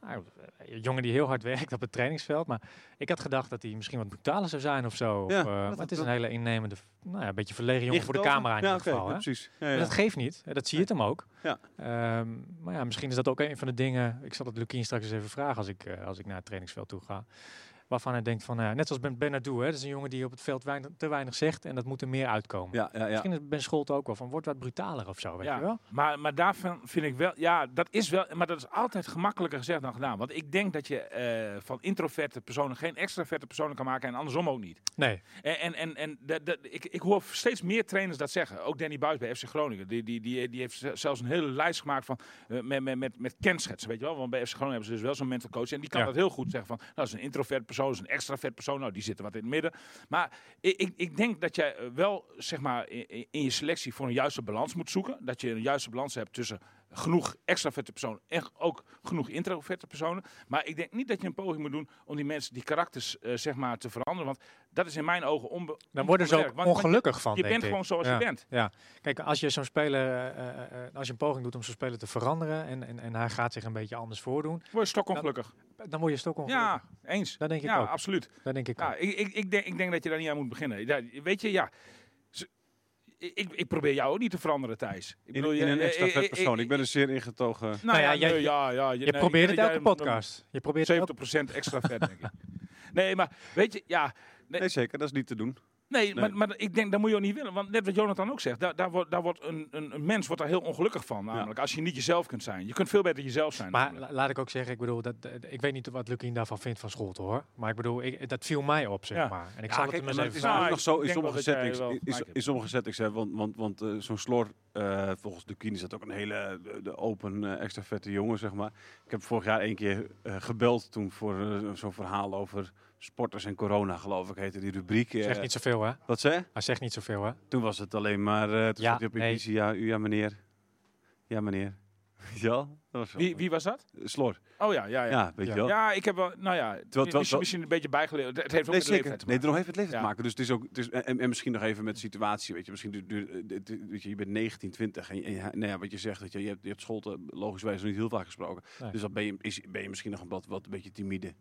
Speaker 2: nou, een jongen die heel hard werkt op het trainingsveld. Maar ik had gedacht dat hij misschien wat brutaler zou zijn of zo. Of,
Speaker 1: Ja,
Speaker 2: eh,
Speaker 1: dat-
Speaker 2: maar het is
Speaker 1: dat-
Speaker 2: een hele innemende, nou ja, een beetje verlegen jongen voor de
Speaker 1: Dicht over?
Speaker 2: camera in
Speaker 1: ja,
Speaker 2: ieder
Speaker 1: oké,
Speaker 2: geval.
Speaker 1: ja,
Speaker 2: hè?
Speaker 1: precies. Ja,
Speaker 2: Maar
Speaker 1: ja.
Speaker 2: Dat geeft niet. Eh, Dat zie je het hem ook.
Speaker 1: Ja.
Speaker 2: Ehm, maar ja, misschien is dat ook een van de dingen. Ik zal het Lukien straks eens even vragen als ik, eh, als ik naar het trainingsveld toe ga. Waarvan hij denkt van, eh, net zoals Ben Bernardo, hè, dat is een jongen die op het veld weinig, te weinig zegt en dat moet er meer uitkomen.
Speaker 1: Ja, ja, ja.
Speaker 2: Misschien is Ben Scholt ook wel van, wordt wat brutaler of zo, weet
Speaker 3: Ja,
Speaker 2: je wel?
Speaker 3: Maar, maar daarvan vind ik wel, ja, dat is wel, maar dat is altijd gemakkelijker gezegd dan gedaan. Want ik denk dat je eh, van introverte personen geen extraverte personen kan maken en andersom ook niet.
Speaker 2: Nee,
Speaker 3: En, en, en, en dat, dat, ik, ik hoor steeds meer trainers dat zeggen. Ook Danny Buis bij FC Groningen. Die, die, die, die heeft ze- zelfs een hele lijst gemaakt van, eh, met, met, met, met kenschetsen. Weet je wel? Want bij FC Groningen hebben ze dus wel zo'n mental coach. En die kan
Speaker 2: Ja.
Speaker 3: dat heel goed zeggen. Van, nou, dat is een introvert persoon, dat is een extravert persoon. Nou, die zitten wat in het midden. Maar ik, ik, ik denk dat jij eh, wel zeg maar, i- i- in je selectie voor een juiste balans moet zoeken. Dat je een juiste balans hebt tussen genoeg extraverte personen en ook genoeg introverte personen. Maar ik denk niet dat je een poging moet doen om die mensen, die karakters, eh, zeg maar, te veranderen. Want dat is in mijn ogen onbe
Speaker 2: dan worden ze
Speaker 3: onbewerkt.
Speaker 2: ook
Speaker 3: Want- want je-
Speaker 2: ongelukkig van,
Speaker 3: Je
Speaker 2: denk
Speaker 3: bent
Speaker 2: ik.
Speaker 3: gewoon zoals
Speaker 2: Ja.
Speaker 3: je bent.
Speaker 2: Ja, kijk, als je zo'n speler, eh, eh, eh, als je een poging doet om zo'n speler te veranderen en, en, en hij gaat zich een beetje anders voordoen,
Speaker 3: Word je stokongelukkig.
Speaker 2: dan word je stokongelukkig.
Speaker 3: Ja, eens.
Speaker 2: Dat denk ik
Speaker 3: ja,
Speaker 2: ook.
Speaker 3: absoluut.
Speaker 2: Dat denk ik ook.
Speaker 3: Ja, ik, ik, ik, denk, ik denk dat je daar niet aan moet beginnen. Ja, weet je, ja. Ze- Ik, ik probeer jou ook niet te veranderen, Thijs. Ik
Speaker 1: In,
Speaker 3: bedoel,
Speaker 1: in
Speaker 3: je-
Speaker 1: een
Speaker 3: eh,
Speaker 1: extra
Speaker 3: eh, eh,
Speaker 1: vet persoon.
Speaker 3: eh,
Speaker 1: Ik ben dus- een zeer ingetogen...
Speaker 3: Nou
Speaker 2: Nou
Speaker 3: ja,
Speaker 2: ja, jij-
Speaker 3: nee, ja, ja,
Speaker 2: Je
Speaker 3: nee, ik
Speaker 2: probeert het
Speaker 3: denk dat
Speaker 2: elke
Speaker 3: jij hem-
Speaker 2: podcast. Je probeert het elke
Speaker 3: 70% extra vet, denk ik. Nee, maar weet je, ja,
Speaker 1: Nee, zeker. Dat is niet te doen.
Speaker 3: nee, Maar, maar ik denk, dat moet je ook niet willen. Want net wat Jonathan ook zegt, daar, daar wordt, daar wordt een, een, een mens wordt daar heel ongelukkig van. Namelijk, als je niet jezelf kunt zijn. Je kunt veel beter jezelf zijn.
Speaker 2: Maar
Speaker 3: namelijk.
Speaker 2: la- laat ik ook zeggen, ik bedoel, dat, dat- ik weet niet wat Lukien daarvan vindt van Scholten hoor. Maar ik bedoel, ik, dat viel mij op, zeg
Speaker 3: Ja.
Speaker 2: maar. En ik
Speaker 3: Ja,
Speaker 2: zal
Speaker 3: kijk,
Speaker 2: het hem eens even
Speaker 3: maar het is
Speaker 1: Nou,
Speaker 2: vragen.
Speaker 3: nou- ik
Speaker 1: nog zo, in
Speaker 3: denk wel
Speaker 1: sommige
Speaker 3: dat jij
Speaker 1: settings,
Speaker 3: wel
Speaker 1: in, in-
Speaker 3: gelijk hebt.
Speaker 1: in sommige settings hè, want, want, want eh, zo'n slor, eh, volgens de Kien is dat ook een hele eh, de open, eh, extra vette jongen, zeg maar. Ik heb vorig jaar één keer eh, gebeld toen voor eh, zo'n verhaal over Sporters en corona, geloof ik, heette die rubriek. eh,
Speaker 2: Zegt niet zoveel, hè?
Speaker 1: Wat zei je?
Speaker 2: Hij zegt niet zoveel, hè?
Speaker 1: Toen was het alleen maar... eh toen
Speaker 2: Ja,
Speaker 1: ja, op
Speaker 2: nee.
Speaker 1: Ibiza, ja, u, ja, meneer. Ja, meneer. Weet je wel? Dat was wel
Speaker 3: Wie, wie was dat?
Speaker 1: Slor.
Speaker 3: Oh ja, ja, ja.
Speaker 1: Ja, weet
Speaker 2: Ja.
Speaker 1: je wel.
Speaker 3: Ja, ik heb wel, nou ja,
Speaker 1: terwijl-
Speaker 3: misschien, misschien een beetje bijgeleerd. Het heeft ook
Speaker 1: Nee,
Speaker 3: met de
Speaker 1: zeker.
Speaker 3: leeftijd te
Speaker 1: Nee,
Speaker 3: maken.
Speaker 1: nog even het leven
Speaker 3: Ja.
Speaker 1: te maken. Dus het is ook, het is, en, en misschien nog even met de situatie. Weet je, misschien duurt- duurt- eh, dit- dit- weet je, je bent 19, 20. En, je- en je- nou ja, wat je zegt, weet je, je hebt, je hebt school te- logischwijs nog niet heel vaak gesproken.
Speaker 2: Nee.
Speaker 1: Dus dan ben je, is, ben je misschien nog een wat, wat een beetje timide.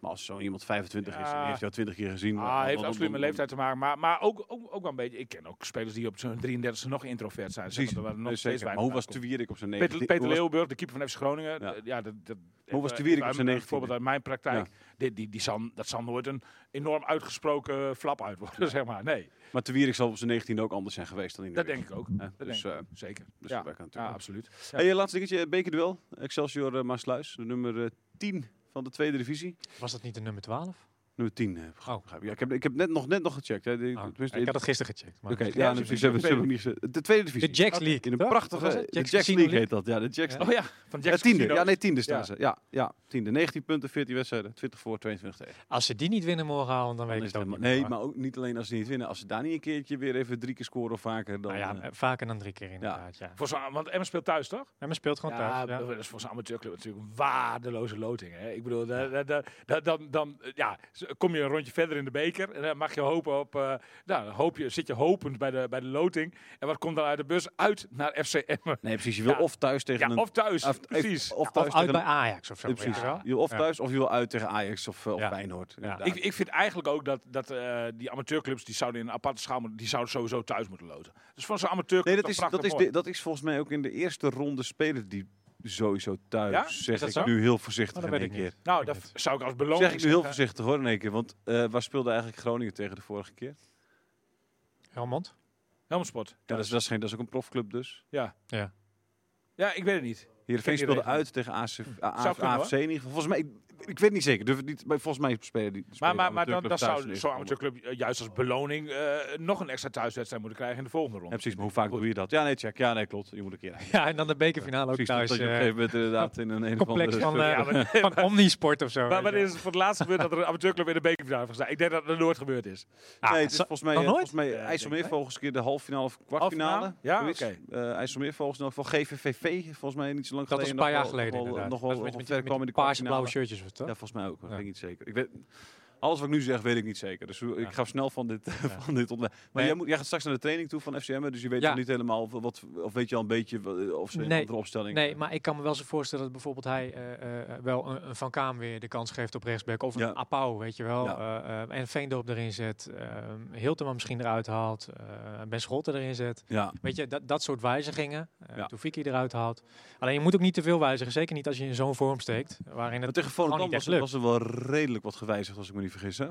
Speaker 1: Maar als zo iemand 25 is en
Speaker 3: Ja.
Speaker 1: die heeft jou 20 keer gezien. dan-
Speaker 3: Ah,
Speaker 1: dan-
Speaker 3: heeft
Speaker 1: dan-
Speaker 3: absoluut
Speaker 1: dan-
Speaker 3: met leeftijd te maken. Maar, maar ook, ook, ook wel een beetje. Ik ken ook spelers die op zijn 33e nog introvert zijn.
Speaker 1: Precies.
Speaker 3: Zeg maar, er waren nog
Speaker 1: Nee,
Speaker 3: steeds
Speaker 1: zeker. Maar hoe
Speaker 3: weinig
Speaker 1: was
Speaker 3: uitkomst.
Speaker 1: Tuwierik op zijn
Speaker 3: Peter,
Speaker 1: 19?
Speaker 3: Peter
Speaker 1: hoe was-
Speaker 3: Leeuwberg, de keeper van FC Groningen.
Speaker 1: Ja.
Speaker 3: eh, Ja, dat, dat,
Speaker 1: Hoe was
Speaker 3: eh,
Speaker 1: Tuwierik op
Speaker 3: een
Speaker 1: zijn 19e?
Speaker 3: Voorbeeld uit mijn praktijk.
Speaker 1: Ja.
Speaker 3: Dit, die, die zal, dat zal nooit een enorm uitgesproken eh, flap uit worden, zeg maar. Nee,
Speaker 1: Maar Tuwierik zal op zijn 19 ook anders zijn geweest dan in de
Speaker 3: dat
Speaker 1: week.
Speaker 3: denk ik ook.
Speaker 1: Eh, dus,
Speaker 3: Dat denk ik
Speaker 1: eh,
Speaker 3: ook, Zeker.
Speaker 1: dus
Speaker 3: ja.
Speaker 1: dat werkt natuurlijk
Speaker 3: ja,
Speaker 1: ook.
Speaker 3: absoluut. Ja.
Speaker 1: Hey, eh, laatste dingetje. eh, Bekerduel. Excelsior eh, Maasluis. De nummer eh, 10 van de tweede divisie.
Speaker 2: Was dat niet de nummer 12?
Speaker 1: Nummer 10. eh,
Speaker 2: Oh,
Speaker 1: begrijp ik. Ja, ik heb, ik heb net, nog, net nog gecheckt. Hè. De,
Speaker 2: oh.
Speaker 1: tenminste,
Speaker 2: ik had het gisteren gecheckt. Maar
Speaker 1: Oké,
Speaker 2: de
Speaker 1: ja, natuurlijk. Ze hebben, ze hebben hem hier ge- de tweede divisie.
Speaker 2: Jacks League.
Speaker 1: In een
Speaker 2: toch? Wat was
Speaker 1: prachtige...
Speaker 2: het?
Speaker 1: De Jacks
Speaker 2: Casino
Speaker 1: League heet dat. Ja, de Jacks
Speaker 2: Ja.
Speaker 1: League.
Speaker 3: Oh ja, van
Speaker 1: Ja,
Speaker 3: Jackson
Speaker 1: tiende.
Speaker 3: Casino.
Speaker 1: Ja, nee, tiende staan
Speaker 3: Ja.
Speaker 1: ze. Ja, ja, tiende. 19 punten, 14 wedstrijden. 20 voor, 22 tegen.
Speaker 2: Als ze die niet winnen morgenavond, dan,
Speaker 1: Dan
Speaker 2: weet ik
Speaker 1: is
Speaker 2: het ook
Speaker 1: het
Speaker 2: niet.
Speaker 1: helemaal- nee,
Speaker 2: meer.
Speaker 1: maar ook niet alleen als ze niet winnen. Als ze daar niet een keertje weer even drie keer scoren of vaker, dan...
Speaker 2: Nou ja,
Speaker 1: eh,
Speaker 2: eh, vaker dan drie keer inderdaad, ja.
Speaker 3: Voor zo'n- want Emmen speelt thuis, toch?
Speaker 2: En men speelt gewoon thuis, ja.
Speaker 3: dat is voor zijn amateurclub natuurlijk een waardeloze loting. Hè? Ik bedoel, da- da- da- da- dan, dan eh, ja, z- kom je een rondje verder in de beker. En dan mag je hopen op. eh, nou, dan hoop je, zit je hopend bij de, bij de loting. En wat komt dan uit de bus? Uit naar FC Emmen.
Speaker 1: Nee, precies. Je wil
Speaker 3: Ja.
Speaker 1: of thuis tegen
Speaker 3: Ja,
Speaker 1: een...
Speaker 3: of thuis.
Speaker 1: of-
Speaker 3: precies.
Speaker 1: Of
Speaker 2: Of
Speaker 1: thuis
Speaker 2: uit
Speaker 1: tegen
Speaker 2: bij
Speaker 1: een-
Speaker 2: Ajax of zo.
Speaker 1: Ja,
Speaker 2: weet
Speaker 1: precies.
Speaker 2: je wel.
Speaker 1: Je wil of
Speaker 2: Ja.
Speaker 1: thuis of je wil uit tegen Ajax of, eh, of
Speaker 2: Ja.
Speaker 1: Feyenoord.
Speaker 2: Ja.
Speaker 1: inderdaad.
Speaker 3: Ik, ik vind eigenlijk ook dat, dat eh, die amateurclubs die zouden in een aparte schaal moeten- die zouden sowieso thuis moeten loten. Dus van zo'n amateurclub
Speaker 1: Nee, dat is,
Speaker 3: prachtig
Speaker 1: dat, is
Speaker 3: mooi.
Speaker 1: de- dat is volgens mij ook in de eerste ronde spelen die sowieso thuis.
Speaker 3: Ja?
Speaker 1: Zeg
Speaker 2: Is dat
Speaker 1: ik
Speaker 2: zo?
Speaker 1: nu heel voorzichtig
Speaker 2: Oh,
Speaker 1: in
Speaker 2: dat weet
Speaker 1: één
Speaker 2: ik
Speaker 1: keer.
Speaker 2: niet.
Speaker 3: Nou,
Speaker 2: Ik
Speaker 3: dat
Speaker 2: niet.
Speaker 3: zou ik als beloning.
Speaker 1: zeg ik nu heel
Speaker 3: zeggen.
Speaker 1: voorzichtig hoor in één keer. Want eh, waar speelde eigenlijk Groningen tegen de vorige keer?
Speaker 2: Helmond?
Speaker 3: Helmsport.
Speaker 1: Ja, dat, is, dat, is geen, dat is ook een profclub dus.
Speaker 3: Ja.
Speaker 2: Ja.
Speaker 3: Ja, ik weet het niet.
Speaker 1: Heerenveen
Speaker 3: Ik ken die
Speaker 1: speelde
Speaker 3: regel.
Speaker 1: uit tegen AFC,
Speaker 3: Hm. Zou kunnen,
Speaker 1: AFC in ieder geval. Volgens mij, ik, ik weet niet zeker. Durf het niet, maar volgens mij spelen die
Speaker 3: Maar,
Speaker 1: spelen
Speaker 3: maar, maar dan, dan
Speaker 1: amateurclubs thuis in de
Speaker 3: zou zo'n
Speaker 1: eerste ronde.
Speaker 3: amateurclub eh, juist als beloning eh, nog een extra thuiswedstrijd moeten krijgen in de volgende
Speaker 1: Ja,
Speaker 3: ronde.
Speaker 1: precies, maar hoe vaak doe je dat? Ja, nee, check. Ja, nee, klopt. Je moet een keer uit.
Speaker 2: Ja, en dan de bekerfinale ook
Speaker 1: Precies,
Speaker 2: thuis.
Speaker 1: dat je op een
Speaker 2: eh,
Speaker 1: gegeven moment inderdaad in een, een of
Speaker 2: complex
Speaker 1: andere-
Speaker 2: van, eh,
Speaker 3: Ja, maar-
Speaker 2: van Omnisport of zo.
Speaker 3: Maar
Speaker 2: weet je
Speaker 3: wanneer is het voor het laatst gebeurd dat er een amateurclub in de bekerfinale heeft gestaan? Ik denk dat dat nooit gebeurd is.
Speaker 2: wel. Ah,
Speaker 1: nee, het is
Speaker 2: zo-
Speaker 1: volgens mij,
Speaker 2: nog
Speaker 1: eh,
Speaker 2: nooit?
Speaker 1: volgens mij
Speaker 3: Eh,
Speaker 1: IJsselmeervogels een keer de halffinale of kwartfinale.
Speaker 3: Halffinale? Ja,
Speaker 1: zoiets.
Speaker 3: oké.
Speaker 1: Eh, IJsselmeervogels nog van GVVV, volgens mij niet zo lang
Speaker 2: Dat was
Speaker 1: geleden.
Speaker 2: een paar
Speaker 1: nog wel-
Speaker 2: jaar geleden
Speaker 1: Nog wel,
Speaker 2: inderdaad.
Speaker 1: nog wel
Speaker 2: Dat was
Speaker 1: ongeveer
Speaker 2: met, met,
Speaker 1: komen in
Speaker 2: met
Speaker 1: de
Speaker 2: die paarse blauwe
Speaker 1: kwartfinale.
Speaker 2: shirtjes was het, toch?
Speaker 1: Ja, volgens mij ook. maar Dat
Speaker 2: Ja.
Speaker 1: weet ik niet zeker. Ik weet, alles wat ik nu zeg, weet ik niet zeker. Dus ik ga snel van dit, van dit ontwerp. Maar
Speaker 2: Nee.
Speaker 1: jij, moet, jij gaat straks naar de training toe van FCM, dus je weet
Speaker 2: Ja.
Speaker 1: nog niet helemaal wat- wat... Of weet je al een beetje wat- of ze
Speaker 2: Nee.
Speaker 1: een andere opstelling...
Speaker 2: Nee, maar ik kan me wel zo voorstellen dat bijvoorbeeld hij eh, eh, wel een, een Van Kaam weer de kans geeft op rechtsback. Of een
Speaker 1: Ja.
Speaker 2: Apau, weet je wel.
Speaker 1: Ja.
Speaker 2: Eh, eh, en Veendorp erin zet. eh, Hiltema misschien eruit haalt. eh, ben Scholten erin zet.
Speaker 1: Ja,
Speaker 2: Weet je, dat, dat soort wijzigingen. eh
Speaker 1: Ja.
Speaker 2: Toefiki eruit haalt. Alleen je moet ook niet te veel wijzigen. Zeker niet als je in zo'n vorm steekt. Waarin
Speaker 1: maar
Speaker 2: het
Speaker 1: tegen
Speaker 2: gewoon
Speaker 1: Volendam
Speaker 2: niet echt
Speaker 1: was,
Speaker 2: lukt.
Speaker 1: was er wel redelijk wat gewijzigd, als ik me niet vergis. Hè?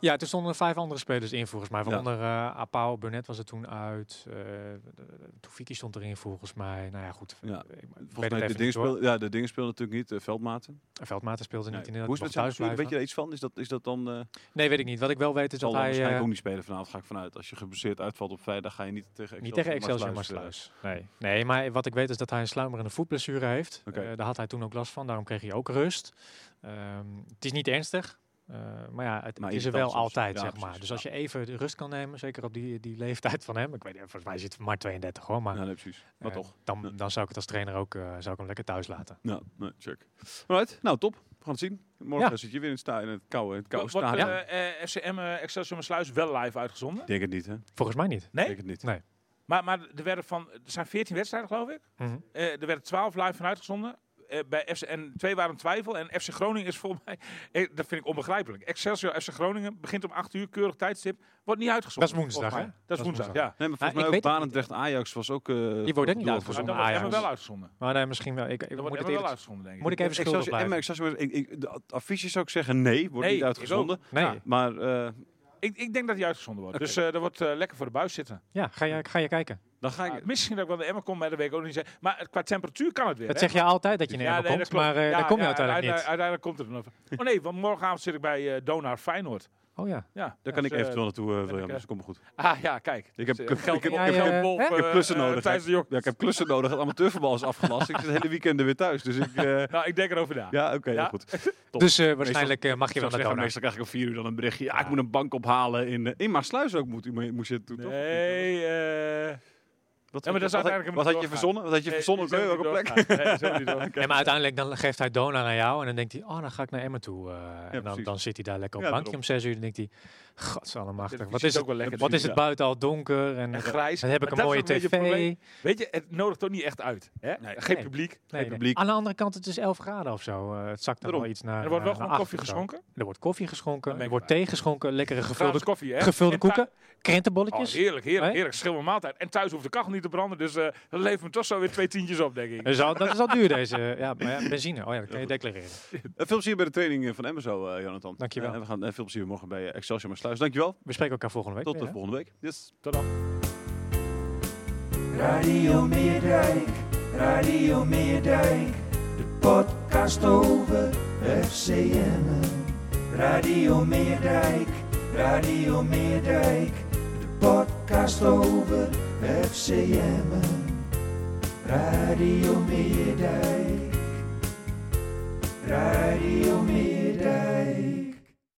Speaker 2: Ja, er stonden vijf andere spelers in volgens mij.
Speaker 1: Ja.
Speaker 2: Waaronder eh Apau, Burnett was er toen uit. eh, de- de- Toefiki stond erin volgens mij. Nou ja, goed.
Speaker 1: Ja.
Speaker 2: Ik- ik weet
Speaker 1: Volgens mij,
Speaker 2: het
Speaker 1: de
Speaker 2: even niet
Speaker 1: dingen,
Speaker 2: hoor.
Speaker 1: speel, ja, de dingen spelen natuurlijk niet, eh, veldmaten.
Speaker 2: Veldmaten speelde niet
Speaker 1: Nee.
Speaker 2: inderdaad.
Speaker 1: Hoe is
Speaker 2: mocht
Speaker 1: het met
Speaker 2: thuis
Speaker 1: zijn Weet je
Speaker 2: blijven.
Speaker 1: er iets van? Is dat, is dat dan... eh
Speaker 2: Nee, weet ik niet. Wat ik wel weet is
Speaker 1: zal hij
Speaker 2: dat hij...
Speaker 1: waarschijnlijk
Speaker 2: eh,
Speaker 1: ook niet spelen vanavond, ga ik vanuit. Als je geblesseerd uitvalt op vrijdag, ga je niet tegen Excelsior
Speaker 2: Niet tegen Excelsior
Speaker 1: Maasluis, eh,
Speaker 2: Maasluis. Nee. nee, maar wat ik weet is dat hij een sluimerende voetblessure heeft.
Speaker 1: Oké.
Speaker 2: Eh, daar had hij toen ook last van, daarom kreeg hij ook rust. Ehm, het is niet ernstig, eh, maar ja, het,
Speaker 1: Maar
Speaker 2: het is
Speaker 1: irritant
Speaker 2: er wel
Speaker 1: soms.
Speaker 2: altijd,
Speaker 1: Ja,
Speaker 2: zeg
Speaker 1: precies.
Speaker 2: maar. Dus als je even de rust kan nemen, zeker op die, die leeftijd van hem. Ik weet niet, volgens mij zit hij maar 32 hoor, maar
Speaker 1: Ja, nee, precies. Maar
Speaker 2: eh,
Speaker 1: toch. Ja.
Speaker 2: Dan, dan zou ik het als trainer ook eh, zou ik hem lekker thuis laten.
Speaker 1: Nou, nee, check. Alright, nou top. We gaan het zien. Morgen
Speaker 2: Ja.
Speaker 1: zit je weer in het, sta in het koude, in het koude
Speaker 3: Wordt wordt,
Speaker 1: stadion.
Speaker 3: eh, eh, FCM eh, Excelsior Sluis wel live uitgezonden?
Speaker 1: Ik denk het niet, hè?
Speaker 2: Volgens mij niet.
Speaker 1: Ik
Speaker 3: Nee?
Speaker 1: denk het niet.
Speaker 2: Nee.
Speaker 3: Maar, maar er, werden van, er zijn 14 wedstrijden, geloof ik.
Speaker 2: Mhm.
Speaker 3: Eh, er werden 12 live van uitgezonden. Eh, bij FC, en twee waren in twijfel. En FC Groningen is volgens mij... eh, dat vind ik onbegrijpelijk. Excelsior FC Groningen begint om 8 uur, keurig tijdstip. Wordt niet uitgezonden.
Speaker 2: Dat is woensdag,
Speaker 3: volgens mij.
Speaker 2: hè?
Speaker 3: Dat is woensdag, ja.
Speaker 1: Nee, maar volgens
Speaker 2: ik
Speaker 1: mij ook
Speaker 2: weet het
Speaker 1: Barendrecht Ajax was ook... eh,
Speaker 2: niet
Speaker 1: door- door-
Speaker 2: uitgezonden.
Speaker 3: Maar dan
Speaker 2: Ah,
Speaker 3: wordt
Speaker 2: ja,
Speaker 3: Emmen
Speaker 2: dus-
Speaker 3: wel uitgezonden.
Speaker 2: Maar nee, misschien wel. Ik, ik
Speaker 3: Dan
Speaker 2: moet
Speaker 3: wordt
Speaker 2: het
Speaker 3: Emmen wel
Speaker 2: eerlijk-
Speaker 3: uitgezonden, denk ik.
Speaker 2: moet ik even schuldig
Speaker 1: Excelsior, Emmen,
Speaker 2: blijven.
Speaker 1: Excelsior, ik, ik, de affiches zou ik zeggen nee, wordt
Speaker 3: Nee,
Speaker 1: niet uitgezonden.
Speaker 3: ik ook.
Speaker 2: Nee,
Speaker 3: Ja.
Speaker 1: Maar eh,
Speaker 3: Ik, ik denk dat die uitgezonden wordt. Dus eh dat wordt eh, lekker voor de buis zitten.
Speaker 2: ja, ga je, ga je kijken.
Speaker 1: dan ga ik...
Speaker 3: Ah, misschien dat ik wel de Emmer kom, maar dat weet ik ook niet. zeker. Maar eh, qua temperatuur kan het weer.
Speaker 2: Dat
Speaker 3: hè?
Speaker 2: zeg je altijd dat je
Speaker 3: Ja,
Speaker 2: naar
Speaker 3: nee,
Speaker 2: Emmen
Speaker 3: dat
Speaker 2: komt,
Speaker 3: klopt.
Speaker 2: maar eh,
Speaker 3: Ja,
Speaker 2: daar kom je
Speaker 3: ja,
Speaker 2: uiteindelijk niet.
Speaker 3: uiteindelijk- Uiteindelijk komt het er nog. van. Oh nee, want morgenavond zit ik bij eh Donar Feyenoord.
Speaker 2: Oh ja.
Speaker 3: Ja,
Speaker 1: Daar kan
Speaker 3: dus,
Speaker 1: ik
Speaker 3: eh,
Speaker 1: eventueel naartoe, eh, William.
Speaker 3: ik, eh,
Speaker 1: Dus dat komt me goed.
Speaker 3: Ah ja, kijk.
Speaker 1: Ik heb-
Speaker 3: Dus,
Speaker 1: ik
Speaker 3: eh,
Speaker 1: heb-
Speaker 3: geld
Speaker 1: ik
Speaker 3: op-
Speaker 2: heb-
Speaker 3: geld
Speaker 2: eh,
Speaker 3: op,
Speaker 2: hè?
Speaker 1: Ik heb
Speaker 3: eh,
Speaker 1: klussen
Speaker 3: eh,
Speaker 1: nodig.
Speaker 3: Thijs de Jong.
Speaker 1: Ja, ik heb klussen nodig. Het amateurvoetbal is afgelast. ik zit het hele weekend er weer thuis. Dus ik... eh,
Speaker 3: Nou, ik denk erover na.
Speaker 1: ja, oké, heel
Speaker 3: Ja.
Speaker 1: goed. Top.
Speaker 2: Dus eh, waarschijnlijk eh, mag je wel naar
Speaker 1: zeggen,
Speaker 2: Dona.
Speaker 1: meestal krijg ik om vier uur dan een berichtje. Ja, ik moet een bank ophalen in, eh, in Maassluis ook. Moet, u mee- moest je het doen, toch?
Speaker 3: Nee, eh...
Speaker 1: Wat,
Speaker 3: Ja, maar dat
Speaker 1: wat,
Speaker 3: zou
Speaker 1: had-
Speaker 3: eigenlijk
Speaker 1: wat had je
Speaker 3: doorgaan.
Speaker 1: verzonnen? Wat had je verzonnen? Oké, welke plek?
Speaker 2: Nee, maar uiteindelijk dan geeft hij Dona naar jou en dan denkt hij, oh, dan ga ik naar Emmen toe. eh, en dan,
Speaker 1: precies.
Speaker 2: dan zit hij daar lekker op
Speaker 1: Ja,
Speaker 2: het bankje
Speaker 1: daarom.
Speaker 2: om zes uur en denkt hij, godsallemachtig, wat
Speaker 3: is
Speaker 2: is het,
Speaker 3: ook wel lekker
Speaker 2: wat
Speaker 3: te
Speaker 2: is
Speaker 3: zien,
Speaker 2: het buiten al donker en,
Speaker 3: En grijs.
Speaker 2: dan heb ik een
Speaker 3: Maar dat is
Speaker 2: mooie
Speaker 3: ook een beetje
Speaker 2: tv.
Speaker 3: het probleem. Weet je, het nodigt toch niet echt uit. Hè?
Speaker 1: Nee.
Speaker 3: Geen
Speaker 2: Nee.
Speaker 3: publiek.
Speaker 2: Nee, nee.
Speaker 1: publiek.
Speaker 2: Aan de andere kant, het is 11 graden of zo. eh, het zakt dan
Speaker 1: Daarom.
Speaker 2: wel iets naar
Speaker 3: Er wordt
Speaker 2: eh,
Speaker 3: wel
Speaker 2: naar
Speaker 3: gewoon koffie
Speaker 2: acht of zo.
Speaker 3: geschonken.
Speaker 2: Er wordt koffie
Speaker 3: Dan
Speaker 2: geschonken,
Speaker 3: ben
Speaker 2: er
Speaker 3: Nou, ik
Speaker 2: wordt
Speaker 3: erbij.
Speaker 2: thee geschonken, lekkere gevulde,
Speaker 3: Gratis koffie, hè?
Speaker 2: gevulde
Speaker 3: En thu-
Speaker 2: koeken,
Speaker 3: Oh,
Speaker 2: krentenbolletjes.
Speaker 3: heerlijk, heerlijk,
Speaker 2: Hè?
Speaker 3: heerlijk. Schil maaltijd. En thuis hoeft de kachel niet te branden, dus eh dat levert me toch zo weer twee tientjes op, denk ik.
Speaker 2: Dat is al- dat is al duur deze. Ja, maar ja, benzine. Oh ja, dat kan je declareren.
Speaker 1: Eh, Veel plezier bij de training eh, van Emmen zo, eh, Jonathan.
Speaker 2: Dankjewel.
Speaker 1: Eh, en we gaan eh, veel plezier morgen bij eh, Excelsior Maassluis. Dankjewel.
Speaker 2: We spreken elkaar volgende week.
Speaker 1: Tot
Speaker 2: weer,
Speaker 1: de
Speaker 2: hè?
Speaker 1: volgende week. Yes.
Speaker 3: Tot dan.
Speaker 4: Radio Meerdijk, Radio Meerdijk, de podcast over FCM. Radio Meerdijk, Radio Meerdijk, de podcast over FCM. Radio Meerdijk, Radio Meerdijk.